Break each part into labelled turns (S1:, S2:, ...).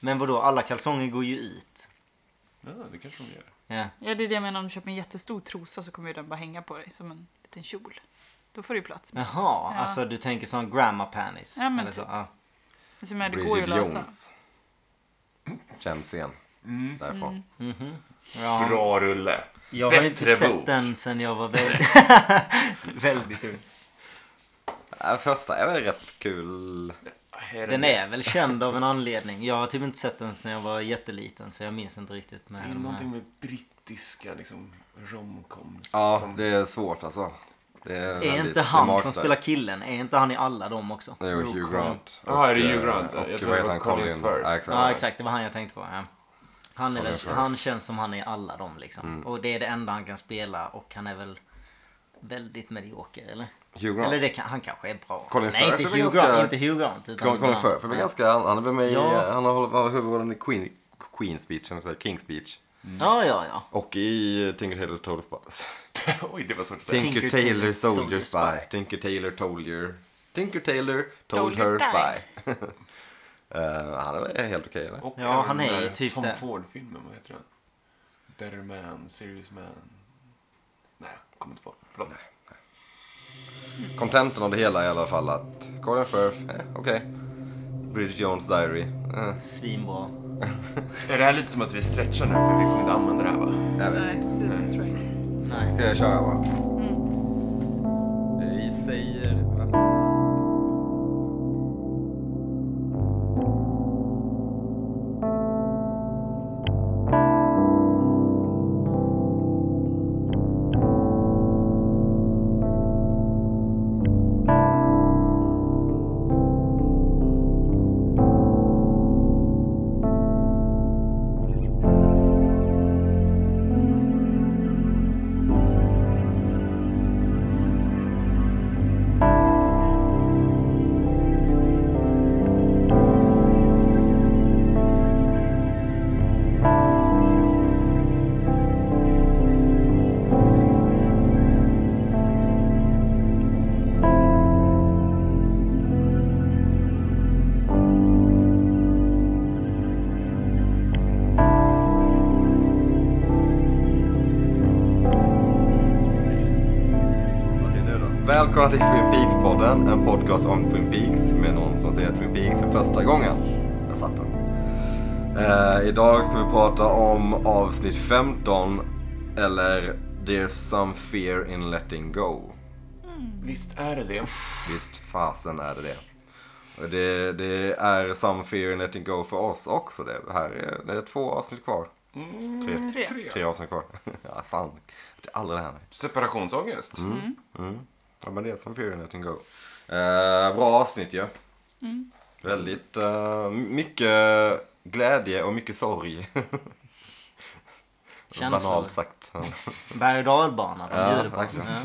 S1: Men vadå, alla kalsonger går ju ut.
S2: Ja, det kanske de gör.
S1: Ja.
S3: Ja, det är det jag menar. Om du köper en jättestor trosa så kommer ju den bara hänga på dig som en liten kjol. Då får du ju plats.
S1: Jaha,
S3: med.
S1: alltså du tänker som grandma panties.
S3: Ja, men
S1: eller så.
S3: typ.
S1: Ja.
S3: Så jag menar, det går ju
S4: Bridget
S3: att lösa.
S4: Jones. Känns igen.
S2: Mm.
S4: Därifrån.
S1: Ja.
S2: Bra rulle.
S1: Jag har
S2: Bättre
S1: inte sett
S2: bok.
S1: den sen jag var väldigt, väldigt ung.
S4: Äh, Första är väl rätt kul.
S2: Är det
S1: Den är väl känd av en anledning. Jag har typ inte sett den sen jag var jätteliten så jag minns inte riktigt. eh, Med
S2: Det är
S1: de här.
S2: någonting med brittiska liksom, romcoms.
S4: Ja,
S2: som-
S4: det är svårt alltså. Det är,
S1: Är
S4: väldigt- det
S1: inte
S4: är
S1: han som
S4: magstarkt.
S1: spelar killen, är inte han i alla dem också?
S4: Det är ju Hugh Grant.
S2: Ja, är det Hugh
S4: eh,
S2: Grant? Jag
S4: Och
S2: tror
S4: vad
S2: det
S4: heter
S2: var
S4: han?
S2: Colin
S4: Colin
S2: Firth.
S4: Ja, exakt.
S1: Ja, exakt. Det var han jag tänkte på. Ja. Han, är
S4: Colin
S1: väl,
S4: Firth.
S1: han känns som han är i alla dem liksom.
S2: Mm.
S1: Och det är det enda han kan spela och han är väl väldigt medioker eller?
S4: Hugh Grant.
S1: Eller det kan, han kanske är bra.
S4: Colin
S1: Nej,
S4: Firth
S1: inte
S4: är väl
S1: Hugh,
S4: ganska-
S1: Grant, inte Hugh Grant. Utan
S4: Colin Firth är väl ganska... Han han är väl med i... eh,
S1: Ja.
S4: Han har hållit- har huvudrollen i Queen, Queen's Speech, eller så här, King's Speech.
S1: Ja, ja, ja.
S4: Och i eh, Tinker Tailor Soldier Spy.
S2: Oj, det var svårt att säga.
S4: Tinker
S1: Tinker
S4: Tailor
S1: Tailor
S4: Soldier
S1: Soldier
S4: Spy. Tinker Tailor told your... Tinker Tailor told
S3: Told
S4: her
S3: your
S4: spy. Eh, han är väl helt okej eller?
S2: Och
S1: Ja,
S2: även
S1: han
S2: den
S1: är
S2: där
S1: ju typ
S2: Tom
S1: det.
S2: Ford-filmen, vad heter den? Better Man, Serious Man. Nej, jag kommer inte på. Förlåt.
S4: Kontenten av det hela är i alla fall att Colin Firth, eh, okej. Bridget Jones Diary. Eh,
S1: Svinbra.
S2: Är det här lite som att vi stretchar nu? För vi kommer inte använda det här va?
S4: jag vet.
S3: Nej, det tror jag inte.
S1: Nej.
S4: Ska jag köra va? Vi säger... Okej, nu då. Välkomna till Twin Peaks-podden, en podcast om Twin Peaks med någon som ser Twin Peaks för första gången. Jag satt den. Eh, idag ska vi prata om avsnitt 15, eller There's some fear in letting go.
S2: Visst är det det?
S4: Visst fasen är det det. Och det, det är some fear in letting go för oss också. Det, här är, det är två avsnitt kvar.
S2: Mm,
S4: Tre.
S3: Tre.
S4: Tre avsnitt kvar. ja, sant. Det är aldrig det här med.
S2: Separationsångest?
S4: Ja, men det är som Fear and Letting Go. Eh, bra avsnitt ju. Mm. Väldigt eh, mycket glädje och mycket sorg.
S1: Känslor.
S4: Banalt sagt.
S1: Berg och dalbana de
S4: Ja,
S1: bjuder på.
S4: verkligen.
S1: Ja.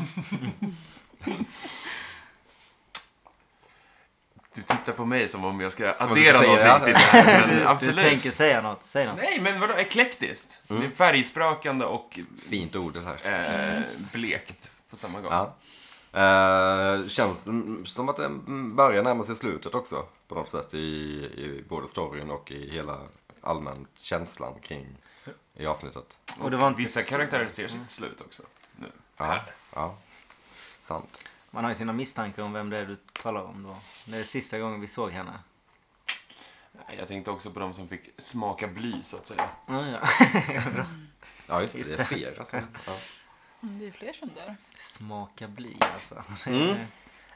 S2: Du tittar på mig som om jag ska
S4: Som att
S2: addera
S4: du säger det.
S2: någonting till det här. Men
S1: Du
S2: absolut.
S1: tänker säga något, säg något.
S2: Nej, men vadå? Eklektiskt? Det är färgsprakande och
S4: Fint ord det här.
S2: eh, blekt på samma gång.
S4: Ja. Eh, känns mm, som att det mm, börjar närma sig slutet också. På något sätt i, i både storyn och i hela allmänt känslan kring i avsnittet.
S1: Och det var inte
S2: Vissa
S1: så- Mm.
S2: karaktärer ser sitt slut också. Nu.
S4: Ja, ja. sant.
S1: Man har ju sina misstankar om vem det är du talar om då. Det är sista gången vi såg henne.
S2: Nej, Jag tänkte också på de som fick smaka bly, så att säga.
S1: Ja, ja.
S4: Ja, just det.
S1: Just
S4: det är fler alltså. Ja.
S3: Mm, Det är fler som dör.
S1: Smaka bly alltså.
S4: Mm.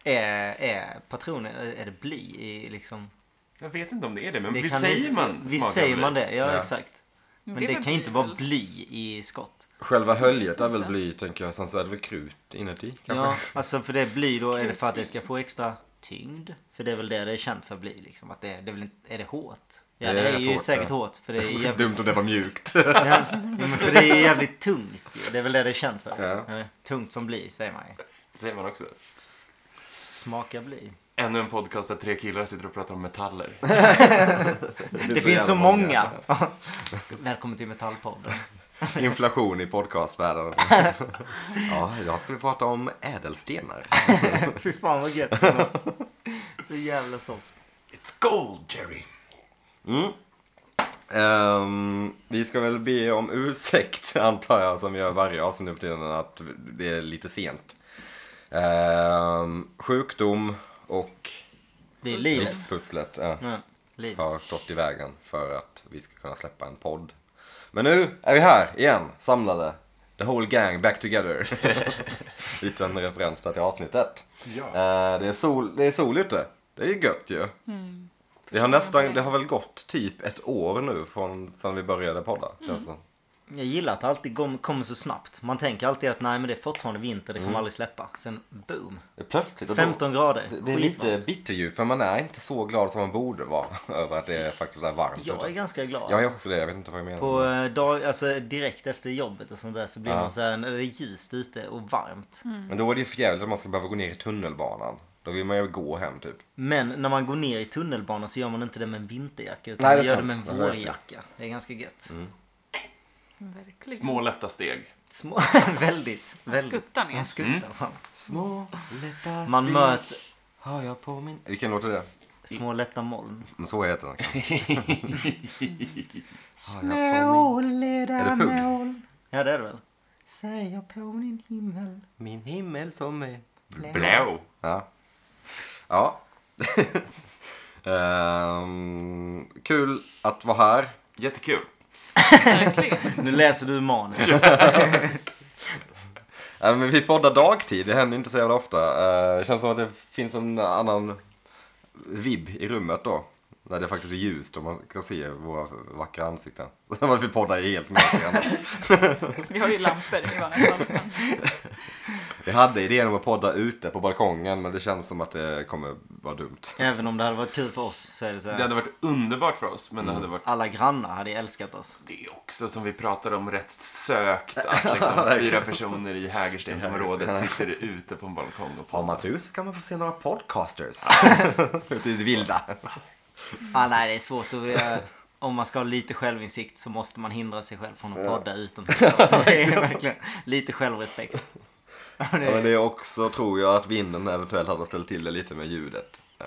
S1: är, är patroner, är det bly i liksom?
S2: Jag vet inte om det är det, men
S1: Det
S2: vi
S1: kan
S2: säger
S1: inte-
S2: man
S1: Vi
S2: smaka
S1: säger
S2: bly.
S1: man det, ja,
S4: Ja.
S1: exakt. Men
S3: det är
S1: det,
S3: väl
S1: kan ju inte
S3: bly,
S1: vara
S3: eller?
S1: bly i skott.
S4: Själva höljet är väl bly tänker jag. Sen så är det väl krut inuti kanske.
S1: Ja, alltså för det är bly då är det för att det ska få extra tyngd. För det är väl det det är känt för bly liksom. Att det, är- det är, väl, inte- är det hårt? Ja,
S4: Det
S1: det
S4: är
S1: är,
S4: rätt
S1: ju
S4: hårt,
S1: säkert
S4: ja.
S1: hårt. För det är jävligt
S4: Dumt om det var mjukt.
S1: Ja, men för det är ju jävligt tungt ju. Det är väl det det är känt för.
S4: Ja.
S1: Eller, Tungt som bly, säger man ju.
S2: Det säger man också.
S1: Smaka bly.
S2: Ännu en podcast där tre killar sitter och pratar om metaller.
S1: Det, finns så många. Välkommen till Metallpodden.
S4: Inflation i podcastvärlden. ja, idag ska vi prata om ädelstenar.
S1: Fy fan vad gött det var. Så jävla soft.
S2: It's gold, Jerry!
S4: Mm. Ehm, vi ska väl be om ursäkt, antar jag, som vi gör varje avsnitt nu för tiden, att det är lite sent. Ehm, sjukdom och
S1: Det är livet.
S4: livspusslet ja,
S1: Ja, livet.
S4: har stått i vägen för att vi ska kunna släppa en podd. Men nu är vi här igen, samlade. The whole gang back together. Liten referens där till avsnitt ett.
S2: Ja.
S4: Eh, det, är sol, det är sol ute. Det är ju gött ju.
S1: Mm.
S4: Det, har nästan, det har väl gått typ ett år nu från sen vi började podda.
S1: Mm.
S4: Känns det som.
S1: Jag gillar att det alltid kom- kommer så snabbt. Man tänker alltid att nej men det är fortfarande vinter, det kommer aldrig släppa. Sen boom.
S4: Det är Plötsligt. Mm. och då-
S1: 15 grader.
S4: Det, det är lite bitter ju för man är inte så glad som man borde vara över att det faktiskt är varmt
S1: Jag är
S4: ute.
S1: ganska glad.
S4: Jag är
S1: alltså.
S4: också det, jag vet inte vad jag menar.
S1: På eh, dag, alltså direkt efter jobbet och sånt där så blir
S4: Ja.
S1: man så här när det är ljust ute och varmt.
S4: Men då är det ju för jävligt att man ska behöva gå ner i tunnelbanan. Då vill man ju gå hem typ.
S1: Men när man går ner i tunnelbanan så gör man inte det med en vinterjacka utan
S4: Nej, det
S1: man
S4: är
S1: gör det
S4: sant.
S1: med en
S4: Mm. Det är verkligen.
S1: vårjacka. Det är ganska gött.
S3: Verkligen.
S2: Små lätta steg.
S1: Små, väldigt, väldigt.
S3: skuttar ner.
S1: Man skuttar fram.
S4: Små lätta
S1: Man möter
S4: har jag på min... Vilken låt är det?
S1: små lätta moln.
S4: Men så heter den.
S1: leda
S4: Är det Pugg? moln.
S1: Ja det är det väl. Säger på min himmel.
S4: Min himmel som är...
S2: Blå.
S4: Ja. Ja. Ehm, kul att vara här.
S2: Jättekul.
S3: Verkligen.
S1: Nu läser du manus.
S4: Äh, men vi poddar dagtid, det händer inte så jävla ofta. Eh, Det känns som att det finns en annan vibb i rummet då. När det faktiskt är ljust och man kan se våra vackra ansikten. Varför vi poddar är helt mörkt annars.
S3: Vi har ju lampor i varje fall. men
S4: Vi hade idén om att podda ute på balkongen men det känns som att det kommer vara dumt.
S1: Även om det hade varit kul för oss så är det så
S2: Det
S1: här.
S2: hade varit underbart för oss, men det hade varit
S1: Alla grannar hade älskat oss.
S2: det är också som vi pratade om rätt sökt att liksom fyra personer i Hägerstensområdet sitter ute på en balkong och
S4: Har
S2: poddar.
S4: man tur så kan man få se några podcasters. Ute i det vilda.
S1: Ah, nej, det är svårt att... eh, Om man ska ha lite självinsikt så måste man hindra sig själv från att podda utomhus. Så det är verkligen lite självrespekt. Ja, det
S4: Ja, men
S1: är-
S4: det är också, tror jag, att vinden eventuellt hade ställt till det lite med ljudet. Ehm, nu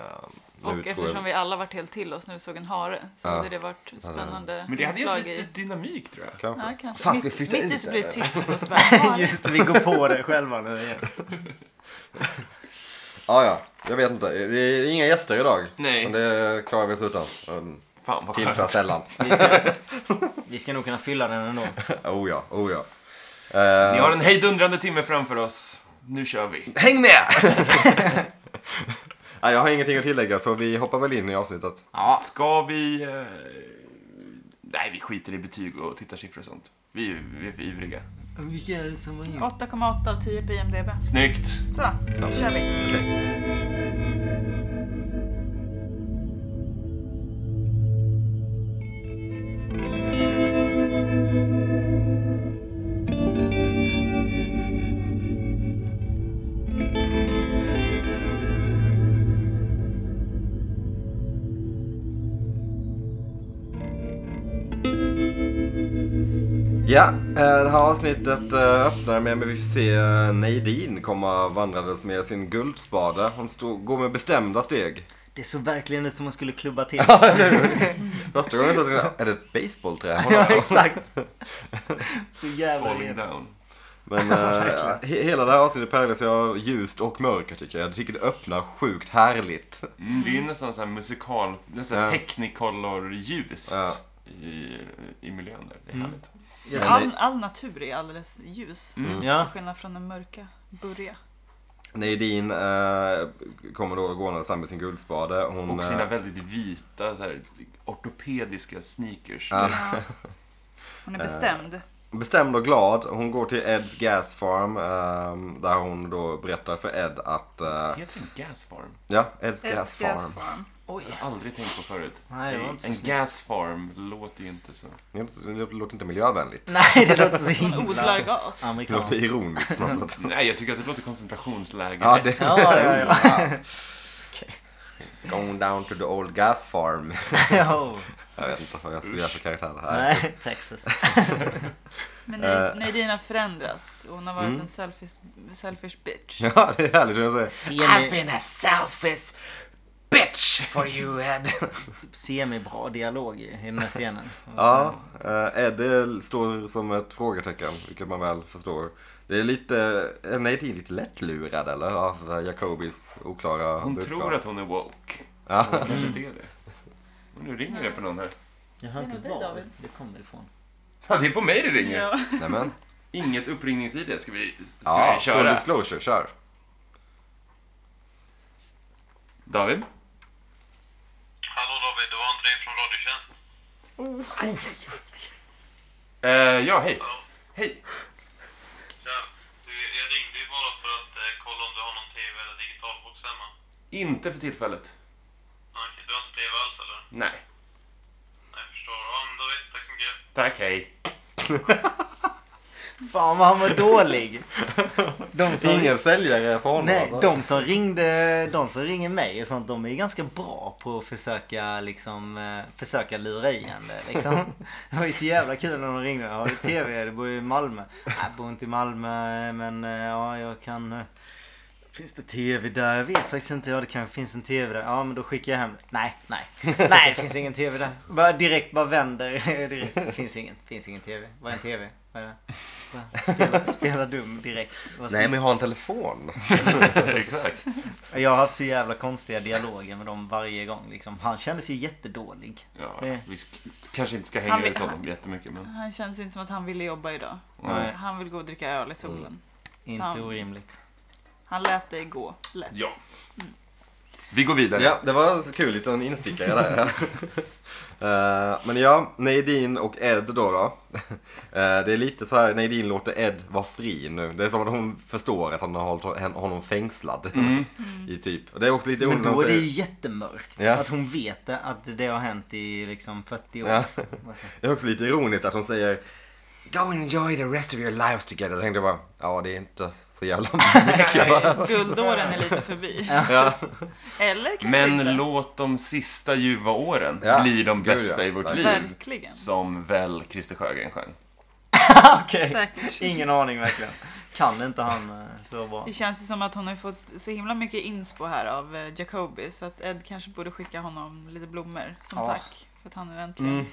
S3: Och
S4: tror jag-
S3: eftersom vi alla varit helt till oss när vi såg en hare så
S4: Ja.
S3: hade det varit spännande
S2: Men det hade
S3: inslag
S2: gett
S3: i...
S2: lite dynamik tror jag.
S4: Kanske.
S3: Ja, kanske.
S4: Fan, ska vi
S3: mitt, mitt
S4: flytta
S3: i
S4: ut
S3: så blir det
S4: eller?
S3: tyst och så bara en hare.
S1: Just det, vi går på det själva nu igen.
S4: Ja, ja. Jag vet inte. Det är inga gäster idag.
S2: Nej.
S4: Men det klarar vi oss utan. Ehm,
S2: Fan vad
S4: Tillför
S2: skönt.
S4: sällan.
S1: Vi ska, vi ska nog kunna fylla den ändå.
S4: oh ja, oh ja.
S2: Vi
S4: Ehm,
S2: har en hejdundrande timme framför oss. Nu kör vi.
S4: Eh, Häng med! Nej, jag har ingenting att tillägga så vi hoppar väl in i avsnittet.
S1: Ja,
S2: Ska vi... Eh... Nej, vi skiter i betyg och tittarsiffror och sånt. Vi, är- vi är för ivriga.
S1: vilka är det som har gjort?
S3: 8,8 av 10 på IMDB.
S2: Snyggt!
S3: Så, då kör vi.
S4: Okej. Ja, eh, det här avsnittet eh, öppnar med att vi får se eh, Nadine komma vandrandes med sin guldspade. Hon stod, går med bestämda steg.
S1: Det såg verkligen ut som om man skulle klubba till.
S4: Första gången jag såg det, är det ett basebollträ hon
S1: Ja,
S4: har?
S1: exakt. Så jävla
S2: Falling
S1: redo.
S2: down.
S4: Men eh,
S1: Verkligen.
S4: he- hela det här avsnittet präglas ju av ljust och mörker tycker jag. Jag tycker det öppnar sjukt härligt.
S2: Mm, det är nästan så här musikal... Nästan
S4: Ja.
S2: technicolor-ljust
S4: Ja.
S2: i, i miljön där. Det
S1: Mm.
S2: är härligt.
S1: Jag-
S3: All, all natur är alldeles ljus.
S4: Mm.
S1: Ja,
S3: Till skillnad från den mörka börja.
S4: Nadine eh, kommer då gåendes där med sin guldspade. Hon,
S2: Och sina
S4: eh,
S2: väldigt vita, så här, ortopediska sneakers.
S4: Ja. Eh,
S3: Hon är bestämd.
S4: bestämd och glad. Hon går till Eds Gas Farm eh, där hon då berättar för Ed att... Eh,
S2: Heter den gas farm?
S4: ja, Eds Gas
S3: Älskar
S4: Farm.
S3: gasform.
S2: Jag har aldrig tänkt på förut.
S1: Nej, det var inte så
S2: en
S1: snyggt.
S2: gas farm låter ju inte så.
S4: Det låter- låter inte miljövänligt.
S1: nej det låter så
S3: Hon odlar
S1: himla
S3: gas.
S4: Det låter
S1: amerikanskt.
S4: ironiskt på något sätt.
S2: Nej, jag tycker att det låter koncentrationsläger.
S4: Ja, det
S1: Ja, ja, ja.
S4: Going down to the old gas farm.
S1: Ja,
S4: Jag vet inte vad jag skulle göra för karaktär. Nej.
S1: Nej, Texas.
S3: Men
S4: Eh. Mm.
S3: Nadine har förändrats. Hon har varit en selfish, selfish bitch.
S4: Ja, det är härligt hur jag säger.
S1: Ser ni,
S4: a selfish bitch for you Ed.
S1: Typ Semibra dialog i i den här scenen. Och
S4: ja, eh, Ed det står som ett frågetecken, vilket man väl förstår. Det är lite, eh, nej det är lite lättlurad eller? Av Jacobis oklara
S2: Hon Mm.
S4: budskap.
S2: tror att hon är woke.
S4: Ja.
S2: Hon kanske inte är det. Och nu ringer det på någon här.
S1: Jag hör
S3: Det är
S1: inte
S3: nog dig,
S1: var
S3: David.
S1: det kommer ifrån.
S2: Ja, det är på mig det ringer.
S3: Ja.
S4: Nej men,
S2: Inget uppringningsid. Ska vi, ska
S4: ja,
S2: vi
S4: full
S2: köra?
S4: disclosure, kör.
S2: David?
S5: Hallå David, det var André från Radiotjänst.
S2: Eh, ja, hej. Hej.
S5: Tja. Du, jag ringde ju bara för att eh, kolla om du har någon TV eller digitalbox hemma.
S2: Inte för tillfället.
S5: Nej, okej, du har inte TV alls eller?
S2: Nej.
S5: Nej, jag förstår. Ja, men David, tack så mycket.
S2: Tack, hej.
S1: Fan vad han var dålig. De som,
S4: Ingen säljare på honom
S1: nej,
S4: alltså.
S1: de som ringde, de som ringer mig och sånt, de är ju ganska bra på att försöka liksom, eh, försöka lura i en det, liksom. Det var ju så jävla kul när de ringde. Har du TV? Du bor ju i Malmö. Nej, jag bor inte i Malmö, men eh, ja, jag kan... eh, Finns det TV där? Jag vet faktiskt inte. Ja, det kanske finns en TV där. Ja, men då skickar jag hem det. Nej, nej. Nej, det finns ingen TV där. Bara direkt, bara vänder. direkt. Det finns ingen, finns ingen TV. Vad är en TV? Vad är det? Bara Spela, spela dum direkt. Vad så-
S4: Nej men jag har en telefon.
S2: Exakt.
S1: Jag har haft så jävla konstiga dialoger med dem varje gång. Liksom. Han kändes ju jättedålig.
S2: Ja,
S1: Det-
S2: vi sk- kanske inte ska
S3: Han
S2: hänga
S3: vill-
S2: ut honom jättemycket, men...
S3: Han känns inte som att han ville jobba idag.
S1: Nej.
S3: Han vill gå och dricka öl i solen.
S4: Mm.
S1: Inte
S3: Fan.
S1: orimligt.
S3: Han lät dig gå lätt.
S2: Ja. Vi går vidare.
S4: Ja, det var en så kul liten instickare där. Eh, men ja, Nadine och Ed då. då. Eh, det är lite så här, Nadine låter Ed vara fri nu. Det är som att hon förstår att han har hållit hon- honom fängslad. I typ. Och det är också lite
S1: Men
S4: onödigt.
S1: då är det ju jättemörkt.
S4: Ja.
S1: Att hon vet det, att det har hänt i liksom 40 år.
S4: Ja.
S1: Alltså,
S4: Det är också lite ironiskt att hon säger Go and enjoy the rest of your lives together. Jag tänkte bara, ja det är inte så jävla mycket. va?
S3: Guldåren är lite förbi.
S4: ja.
S3: Eller kanske inte.
S2: Men låt de sista ljuva åren
S4: Ja.
S2: bli de
S4: Gud,
S2: bästa
S4: ja.
S2: i vårt
S4: Verkligen.
S2: liv.
S3: Verkligen.
S2: Som väl Christer Sjögren sjöng.
S1: Okej.
S3: Säkert.
S1: Ingen aning verkligen. Kan inte han eh, så bra.
S3: Det känns ju som att hon har fått så himla mycket inspo här av eh, Jacobi så att Ed kanske borde skicka honom lite blommor som
S1: Ja.
S3: tack för att han nu äntligen,
S4: Mm.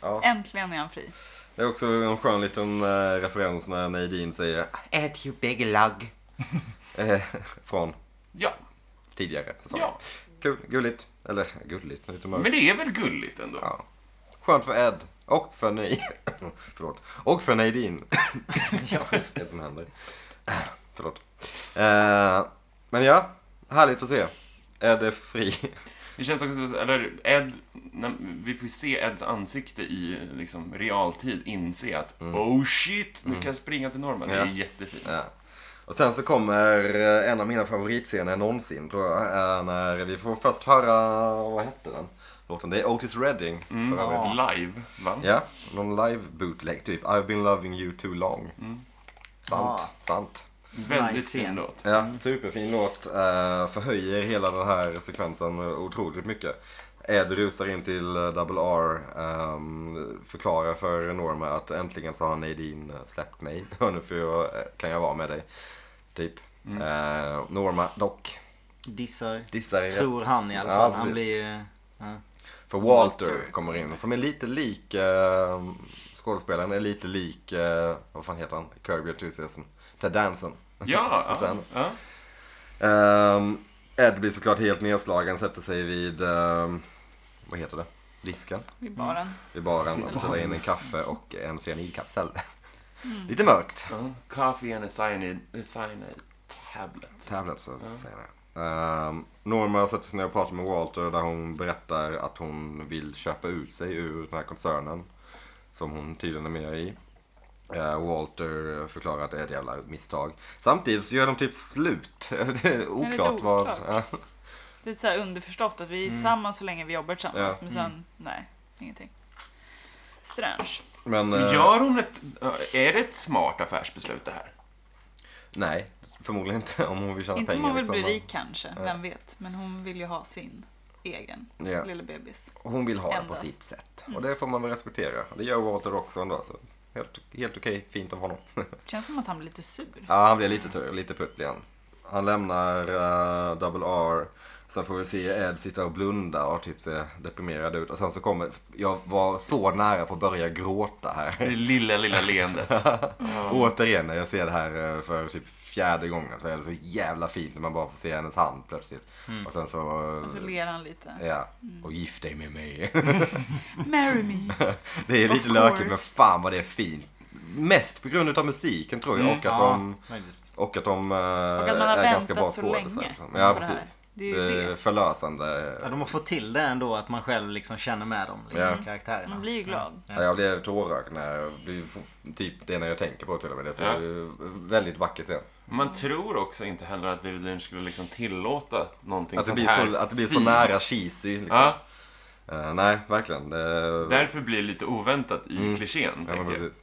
S4: Ja.
S3: äntligen är han fri.
S4: Det är också en skön liten eh, referens när Nadine säger Ed you big lug. Eh, Från
S2: Ja,
S4: tidigare säsonger.
S2: ja.
S4: Kul, gulligt. Eller gulligt, lite mörkt.
S2: Men det är väl gulligt ändå?
S4: Ja. Skönt för Ed. Och för nej. Förlåt. Och för Nadine. ja. Det som händer. Förlåt. Eh, men ja, härligt att se. Ed är fri.
S2: Det känns också, eller Ed, när, vi får ju se Eds ansikte i liksom, realtid inse att oh shit, nu kan jag springa till Norman. Det
S4: Mm. Ja.
S2: är jättefint.
S4: Ja. Och sen så kommer eh, en av mina favoritscener någonsin tror jag. eh, När vi får först höra, vad hette den? Låten, det är Otis Redding.
S2: Mm.
S4: för övrigt.
S2: Live, va?
S4: Ja, någon live bootleg typ. I've been loving you too long. Sant,
S1: Ja.
S4: sant.
S2: Väldigt
S1: Nice
S2: fin
S1: scen.
S2: låt.
S4: Ja, Ah. superfin låt. eh, Förhöjer hela den här sekvensen eh, otroligt mycket. Ed rusar in till eh, Double R, ehm, förklarar för Norma att äntligen så har Nadine eh, släppt mig. Och nu får jag, eh, kan jag vara med dig. Typ. Eh, Norma dock
S1: Dissar.
S4: dissar
S1: Tror
S4: rätt-
S1: han i alla
S4: Ja,
S1: fall. han
S4: precis. Mm.
S1: blir ju... Ja.
S4: För Walter,
S3: Walter.
S4: kommer in, som är lite lik, eh, skådespelaren är lite lik, eh, vad fan heter han? Kirby Enthusiasm. Ted Danson.
S2: Ja,
S4: Och sen-
S2: ja.
S4: Ehm, Ed blir såklart helt nedslagen, sätter sig vid, ehm, vad heter det? Disken?
S3: I baren.
S4: Vid baren och beställer in en kaffe och en cyanidkapsel. Lite mörkt.
S2: ja. Coffee and a cyanide, a cyanide tablet.
S4: Tablet så säger jag. Ehm, Norma sätter sig ner och pratar med Walter där hon berättar att hon vill köpa ut sig ur den här koncernen. Som hon tydligen är med i. Eh, Walter förklarar att det är ett jävla misstag. Samtidigt så gör de typ slut. det är oklart vad...
S3: oklart.
S4: Ja.
S3: Det är så här underförstått att vi är tillsammans så länge vi jobbar tillsammans
S4: Mm. Ja. Mm.
S3: men sen, nej, ingenting. Strange.
S4: Men,
S2: Men
S4: eh,
S2: Gör hon ett... Är det ett smart affärsbeslut det här?
S4: Nej, förmodligen inte om hon vill tjäna
S3: Inte om
S4: pengar.
S3: hon vill bli
S4: liksom.
S3: rik kanske, vem vet. Men hon vill ju ha sin egen
S4: Ja.
S3: lilla bebis.
S4: Hon vill ha det på
S3: Endast. Mm.
S4: sitt sätt. Och det får man väl respektera. Och Det gör Walter också ändå. Så helt, helt okej, fint av honom.
S3: Känns som att han blir lite sur.
S4: ja, han blir lite tur, lite putt blir han. Han lämnar eh, Double R. Sen får vi se Ed sitta och blunda och typ se deprimerad ut. Och sen så kommer, jag var så nära på att börja gråta här.
S2: Det lilla, lilla leendet.
S4: Återigen när jag ser det här eh, för typ fjärde gången så är det så jävla fint när man bara får se hennes hand plötsligt. Och sen så...
S3: Och så Mm. ler han lite.
S4: Ja, och gift dig med mig.
S3: Marry me.
S4: det är
S3: Of
S4: lite lökigt
S3: course.
S4: men fan vad det är fint. Mest på grund av musiken tror
S1: Mm.
S4: jag och att de...
S1: faktiskt.
S4: Och att de eh,
S3: Och att man har
S4: är ganska bra
S3: väntat så länge.
S4: skådisar. Liksom.
S3: på
S4: Ja,
S3: det här.
S4: precis.
S3: Det är ju det.
S4: Eh, förlösande.
S1: Ja, de har fått till det ändå att man själv liksom känner med dem, liksom,
S4: Ja.
S1: karaktärerna.
S3: Man blir ju glad.
S4: Ja, jag blev tårögd när jag blev, typ det när jag tänker på till och med. Det så
S2: Ja.
S4: väldigt vacker scen.
S2: Man tror också inte heller att David Lynch skulle liksom tillåta någonting
S4: Att det,
S2: sånt
S4: blir
S2: Alltså här
S4: så, att det blir så
S2: fint.
S4: nära cheesy liksom.
S2: Ja,
S4: Eh, nej, verkligen. Det,
S2: därför blir det lite oväntat i klichén,
S4: Mm. ja, men
S2: tänker jag.
S4: precis.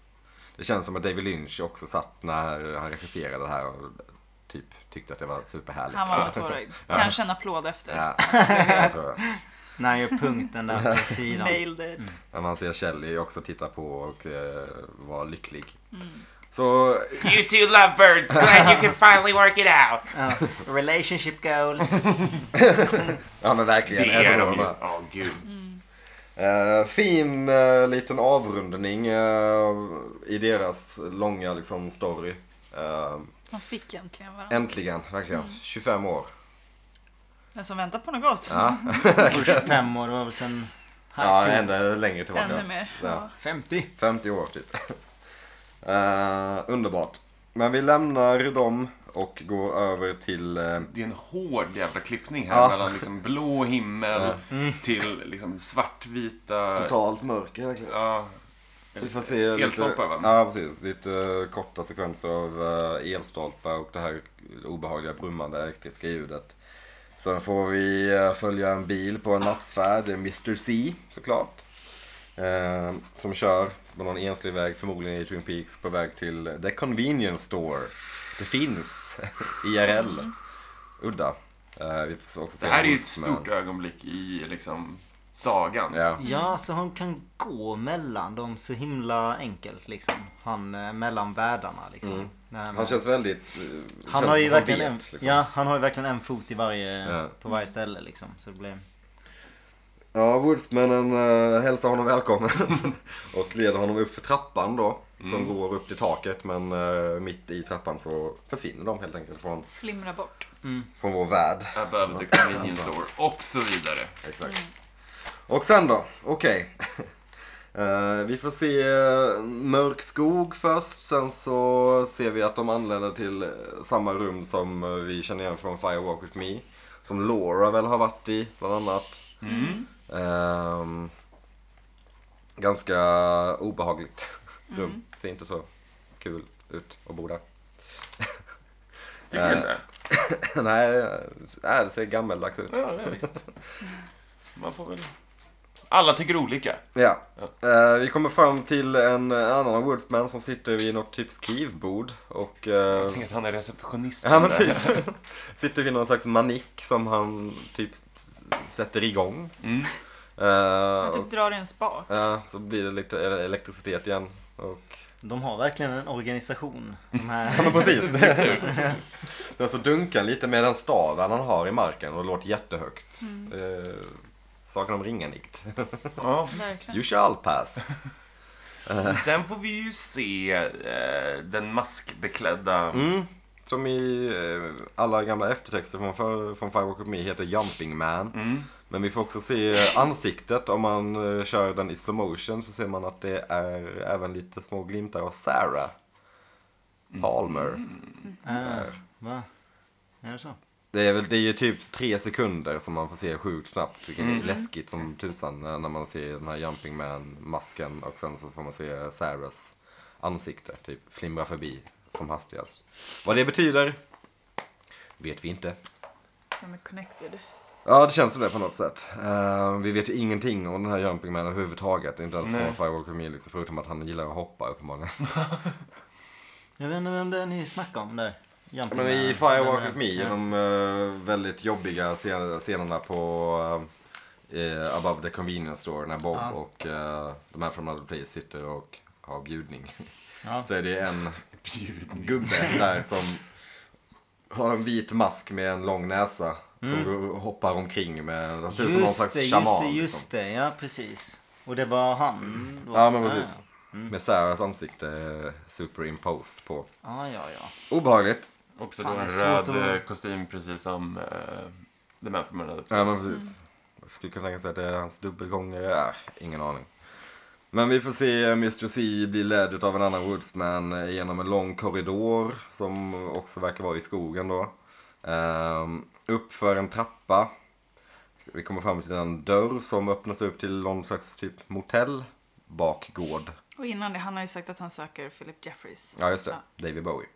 S4: Det känns som att David Lynch också satt när han regisserade det här och typ tyckte att det var superhärligt.
S3: Han var tårögd. Kanske en applåd efter.
S4: Ja, det tror jag.
S1: När jag gör punkten där på sidan.
S3: Nailed it.
S4: Men man ser Shelley också titta på och eh, vara lycklig.
S3: Mm.
S4: Så
S6: You two
S2: Ah,
S6: lovebirds, glad you can finally work it out.
S1: Ja. Relationship goals.
S4: Ja men verkligen.
S2: Det är
S4: även
S2: de
S4: om
S2: ju.
S4: de
S2: Ja,
S4: här.
S2: gud.
S4: Eh, fin eh, liten avrundning eh, i deras långa liksom, story. Eh,
S3: Man fick äntligen varandra.
S4: äntligen, verkligen.
S3: Mm.
S4: 25 år.
S3: Den som väntar på något gott.
S4: Ja,
S1: Och 25 år, det var väl sen high
S4: ja
S1: school.
S4: ännu längre tillbaka.
S3: Ännu mer.
S4: Ja.
S3: Ja.
S1: 50.
S4: 50 år typ. Eh, underbart. Men vi lämnar dem och går över till eh,
S2: Det är en hård jävla klippning här
S4: Ja.
S2: mellan liksom blå himmel till liksom svartvita...
S4: totalt mörker verkligen.
S2: Ja,
S4: Vi får se
S2: Elstolpar, va?
S4: lite, Ja precis, lite eh, korta sekvenser av eh, elstolpar och det här obehagliga brummande elektriska ljudet. Sen får vi eh, följa en bil på en nattsfärd, det är Mr C såklart. Eh, Som kör på någon enslig väg, förmodligen i Twin Peaks, på väg till The Convenience Store. Det finns IRL. Udda. Eh, Vi får också se
S2: det här är ju
S4: hon,
S2: ett stort
S4: men-
S2: ögonblick i liksom sagan.
S4: Ja.
S1: Ja, så han kan gå mellan dem så himla enkelt liksom. Han eh, mellan världarna liksom. Nej, men-
S4: Mm. Han känns väldigt... eh,
S1: han
S4: känns
S1: har ju
S4: som att
S1: verkligen en,
S4: vet, liksom.
S1: ja, han har ju verkligen en fot i varje,
S4: Ja.
S1: på varje ställe liksom. Så det blir...
S4: Ja, Woodsmannen uh, hälsar honom välkommen och leder honom upp för trappan då. Som går upp till taket men eh, mitt i trappan så försvinner de helt enkelt från,
S3: Flimra bort.
S4: från vår värld.
S2: Above the convenience store och så vidare.
S4: Exakt. Och sen då? Okej. Eh, vi får se eh, mörk skog först. Sen så ser vi att de anländer till eh, samma rum som eh, vi känner igen från Firewalk With Me. Som Laura väl har varit i bland annat.
S2: Mm.
S4: Ehm, ganska obehagligt rum. Ser inte så kul ut att bo där.
S2: Tycker du inte?
S4: Nej, äh, det ser gammeldags ut.
S2: Ja, ja, visst. Man får väl... Alla tycker olika.
S4: Ja. Eh, vi kommer fram till en eh, annan Woodsman som sitter vid något typ skrivbord och... eh,
S2: Jag tänker att han är receptionist.
S4: ja men typ. sitter vid någon slags manick som han typ sätter igång.
S2: Mm.
S4: Eh,
S3: Han typ
S4: och,
S3: drar i en spak.
S4: ja, så blir det lite ele- elektricitet igen. Och,
S1: De har verkligen en organisation. De här...
S4: ja men precis. Den så dunkar lite med den staven han har i marken och låter jättehögt. Eh, saken om ringanikt.
S2: Ja.
S3: Verkligen.
S4: you shall pass.
S2: Sen får vi ju se eh, den maskbeklädda...
S4: Mm. Som i eh, alla gamla eftertexter från, för, från Firewalk With Me heter Jumping Man.
S2: Mm.
S4: Men vi får också se eh, ansiktet. Om man eh, kör den i slow motion så ser man att det är även lite små glimtar av Sarah Palmer.
S1: Eh, va? Är det så?
S4: Det är, väl, det är ju typ tre sekunder som man får se sjukt snabbt. Vilket är läskigt som tusan eh, när man ser den här Jumping Man-masken. Och sen så får man se Sarahs ansikte typ flimra förbi som hastigast. Vad det betyder vet vi inte.
S3: De är connected.
S4: Ja, det känns som det på något sätt. Eh, vi vet ju ingenting om den här Jumping Man överhuvudtaget. Inte alls från
S2: Nej.
S4: Firewalk With Me, liksom, förutom att han gillar att hoppa uppenbarligen.
S1: Jag vet inte vem det är ni snackar om där. Jumping
S4: Men i
S1: Man.
S4: Firewalk
S1: Vem är
S4: With Me, i
S1: det?
S4: de eh, väldigt jobbiga scen- scenerna på eh, Above the Convenience Store när Bob
S1: Ja.
S4: och eh, de här från Other Place sitter och har bjudning.
S1: Ja.
S4: Så är det en
S2: Bjudning.
S4: gubbe där som har en vit mask med en lång näsa Som går- hoppar omkring med, han ser ut som någon
S1: Mm. Just
S4: slags
S1: det,
S4: shaman.
S1: just det,
S4: liksom.
S1: just det. Ja, precis. Och det var han då?
S4: Ja men precis.
S1: Mm.
S4: Med Sarahs ansikte eh, superimposed på.
S1: Ja, ja, ja.
S4: Obehagligt.
S2: Också
S1: Fan,
S2: då
S1: det
S2: en
S1: är svårt
S2: röd
S1: att-
S2: eh, kostym precis som uh, The Man from Another
S4: Ja men
S2: Place.
S4: precis. Jag skulle kunna tänka sig att det är hans dubbelgångare. Äh, ingen aning. Men vi får se Mr. C bli ledd av en annan woodsman eh, genom en lång korridor som också verkar vara i skogen då. Ehm, upp för en trappa. Vi kommer fram till en dörr som öppnas upp till någon slags typ motell. Bakgård.
S3: Och innan det, han har ju sagt att han söker Philip Jeffries.
S4: Ja just det, David Bowie.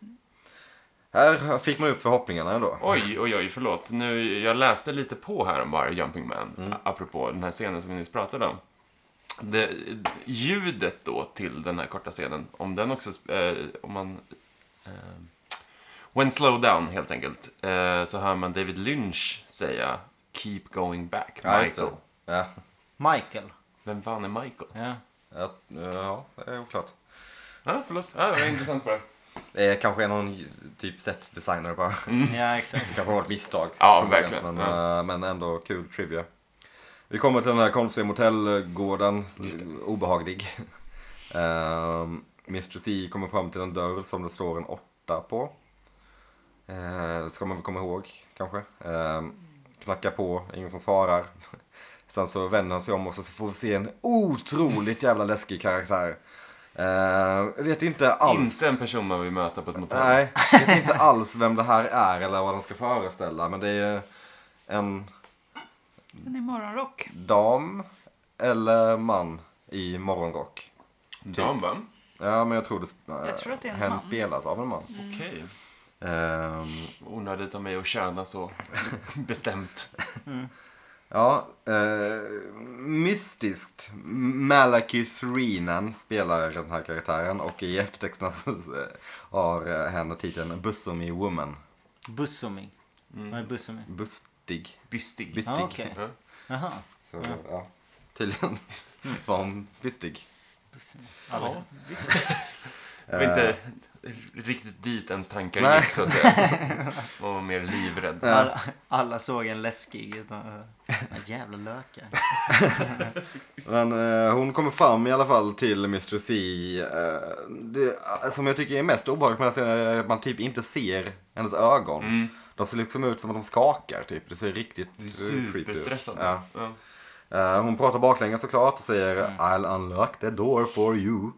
S4: Här fick man upp förhoppningarna ändå.
S2: Oj, oj, oj, förlåt. Nu, jag läste lite på här om bara Jumping Man,
S1: Mm.
S2: a- apropå den här scenen som vi nyss pratade om. Det, ljudet då till den här korta scenen, om den också, sp- eh, om man... Eh, when slow down, helt enkelt, eh, så hör man David Lynch säga Keep going back,
S4: Ja, just det.
S2: Michael.
S4: Ja.
S1: Michael.
S2: Vem fan är Michael?
S1: Ja.
S4: Ja, ja, det är oklart.
S2: Ja, förlåt. Ja, det var intressant bara.
S4: Det är Eh, kanske är någon typ set-designer bara.
S1: ja, exakt.
S4: Det kanske var ett misstag.
S2: Mm. Ja,
S4: från början,
S2: verkligen.
S4: Men, eh, men ändå kul trivia. Vi kommer till den här konstiga motellgården. Obehaglig. Ehm, Mr C kommer fram till en dörr som det står en åtta på. Eh, Det ska man väl komma ihåg kanske. Ehm, Knackar på, ingen som svarar. Sen så vänder han sig om och så får vi se en otroligt jävla läskig karaktär. Eh, vet inte alls.
S2: Inte en person man vill möta på ett motell.
S4: Nej, jag vet inte alls vem det här är eller vad den ska föreställa. Men det är en
S3: Den är morgonrock.
S4: dam eller man i morgonrock.
S2: Dam, va?
S4: Ja, men jag tror, det,
S3: Jag tror att det är en
S4: hen
S3: man.
S4: spelas av en man.
S2: Okej.
S4: Ehm,
S2: Onödigt av mig att köna så bestämt.
S4: ja, eh, mystiskt. Malachi Srenan spelar den här karaktären och i eftertexterna så eh, har eh, hen titeln Bussomie Woman.
S1: Bussomi. Vad är Bussomi?
S4: Bustig.
S2: Bystig.
S4: Bystig.
S3: Ah,
S1: Ja, okej.
S2: Ja.
S1: Jaha.
S4: Så, ja. Tydligen
S3: Mm.
S4: var hon bustig.
S1: Bussomi.
S2: Ja, visst. Det var inte riktigt dit ens tankar
S4: Eh. Nej.
S2: gick så att säga. Man var mer livrädd.
S1: Alla, alla såg en läskig utan... Ja, jävla lökar.
S4: Men eh, hon kommer fram i alla fall till Mr. C. Eh, det, eh, som jag tycker är mest obehagligt med den här scenen är att man typ inte ser hennes ögon. De ser liksom ut som att de skakar typ. Det ser riktigt eh, creepy ut.
S2: Superstressande.
S4: Ja.
S2: Ja.
S4: Eh, hon pratar baklänges såklart och säger I'll unlock the door for you.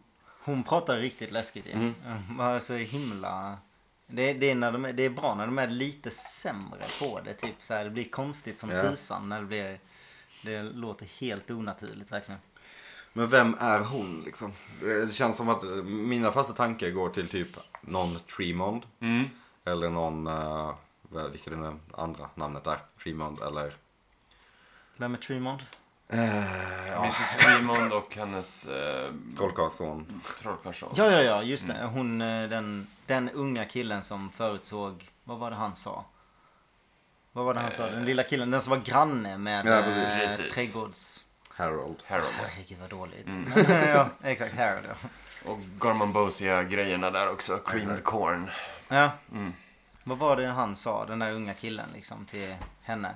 S1: Hon pratar riktigt läskigt ju. Mm. Bara så himla... Det, det, är när de, är- det är bra när de är lite sämre på det. Typ så här, det blir konstigt som
S4: Ja.
S1: tusan när det blir... Det låter helt onaturligt verkligen.
S4: Men vem är hon liksom? Det känns som att eh, mina första tankar går till typ någon Tremond.
S2: Mm.
S4: Eller någon, uh, vilket är det andra namnet är? Tremond eller?
S1: Vem är Tremond?
S4: Eh, ja,
S2: Mrs Fremond och hennes eh,
S4: Trollkarls son.
S2: trollkarlsson.
S1: Ja, ja, ja, just det. Hon, eh, den, den unga killen som förutsåg... Vad var det han sa? Vad var det han sa? Den lilla killen, den som var granne med
S4: Ja, precis.
S1: eh,
S2: Precis.
S1: trädgårds...
S4: Harold.
S2: Harold.
S1: Herregud vad dåligt. ja, exakt, Harold ja.
S2: Och Garman Bosia-grejerna där också. Creamed corn.
S1: Ja. Vad var det han sa, den där unga killen liksom till henne?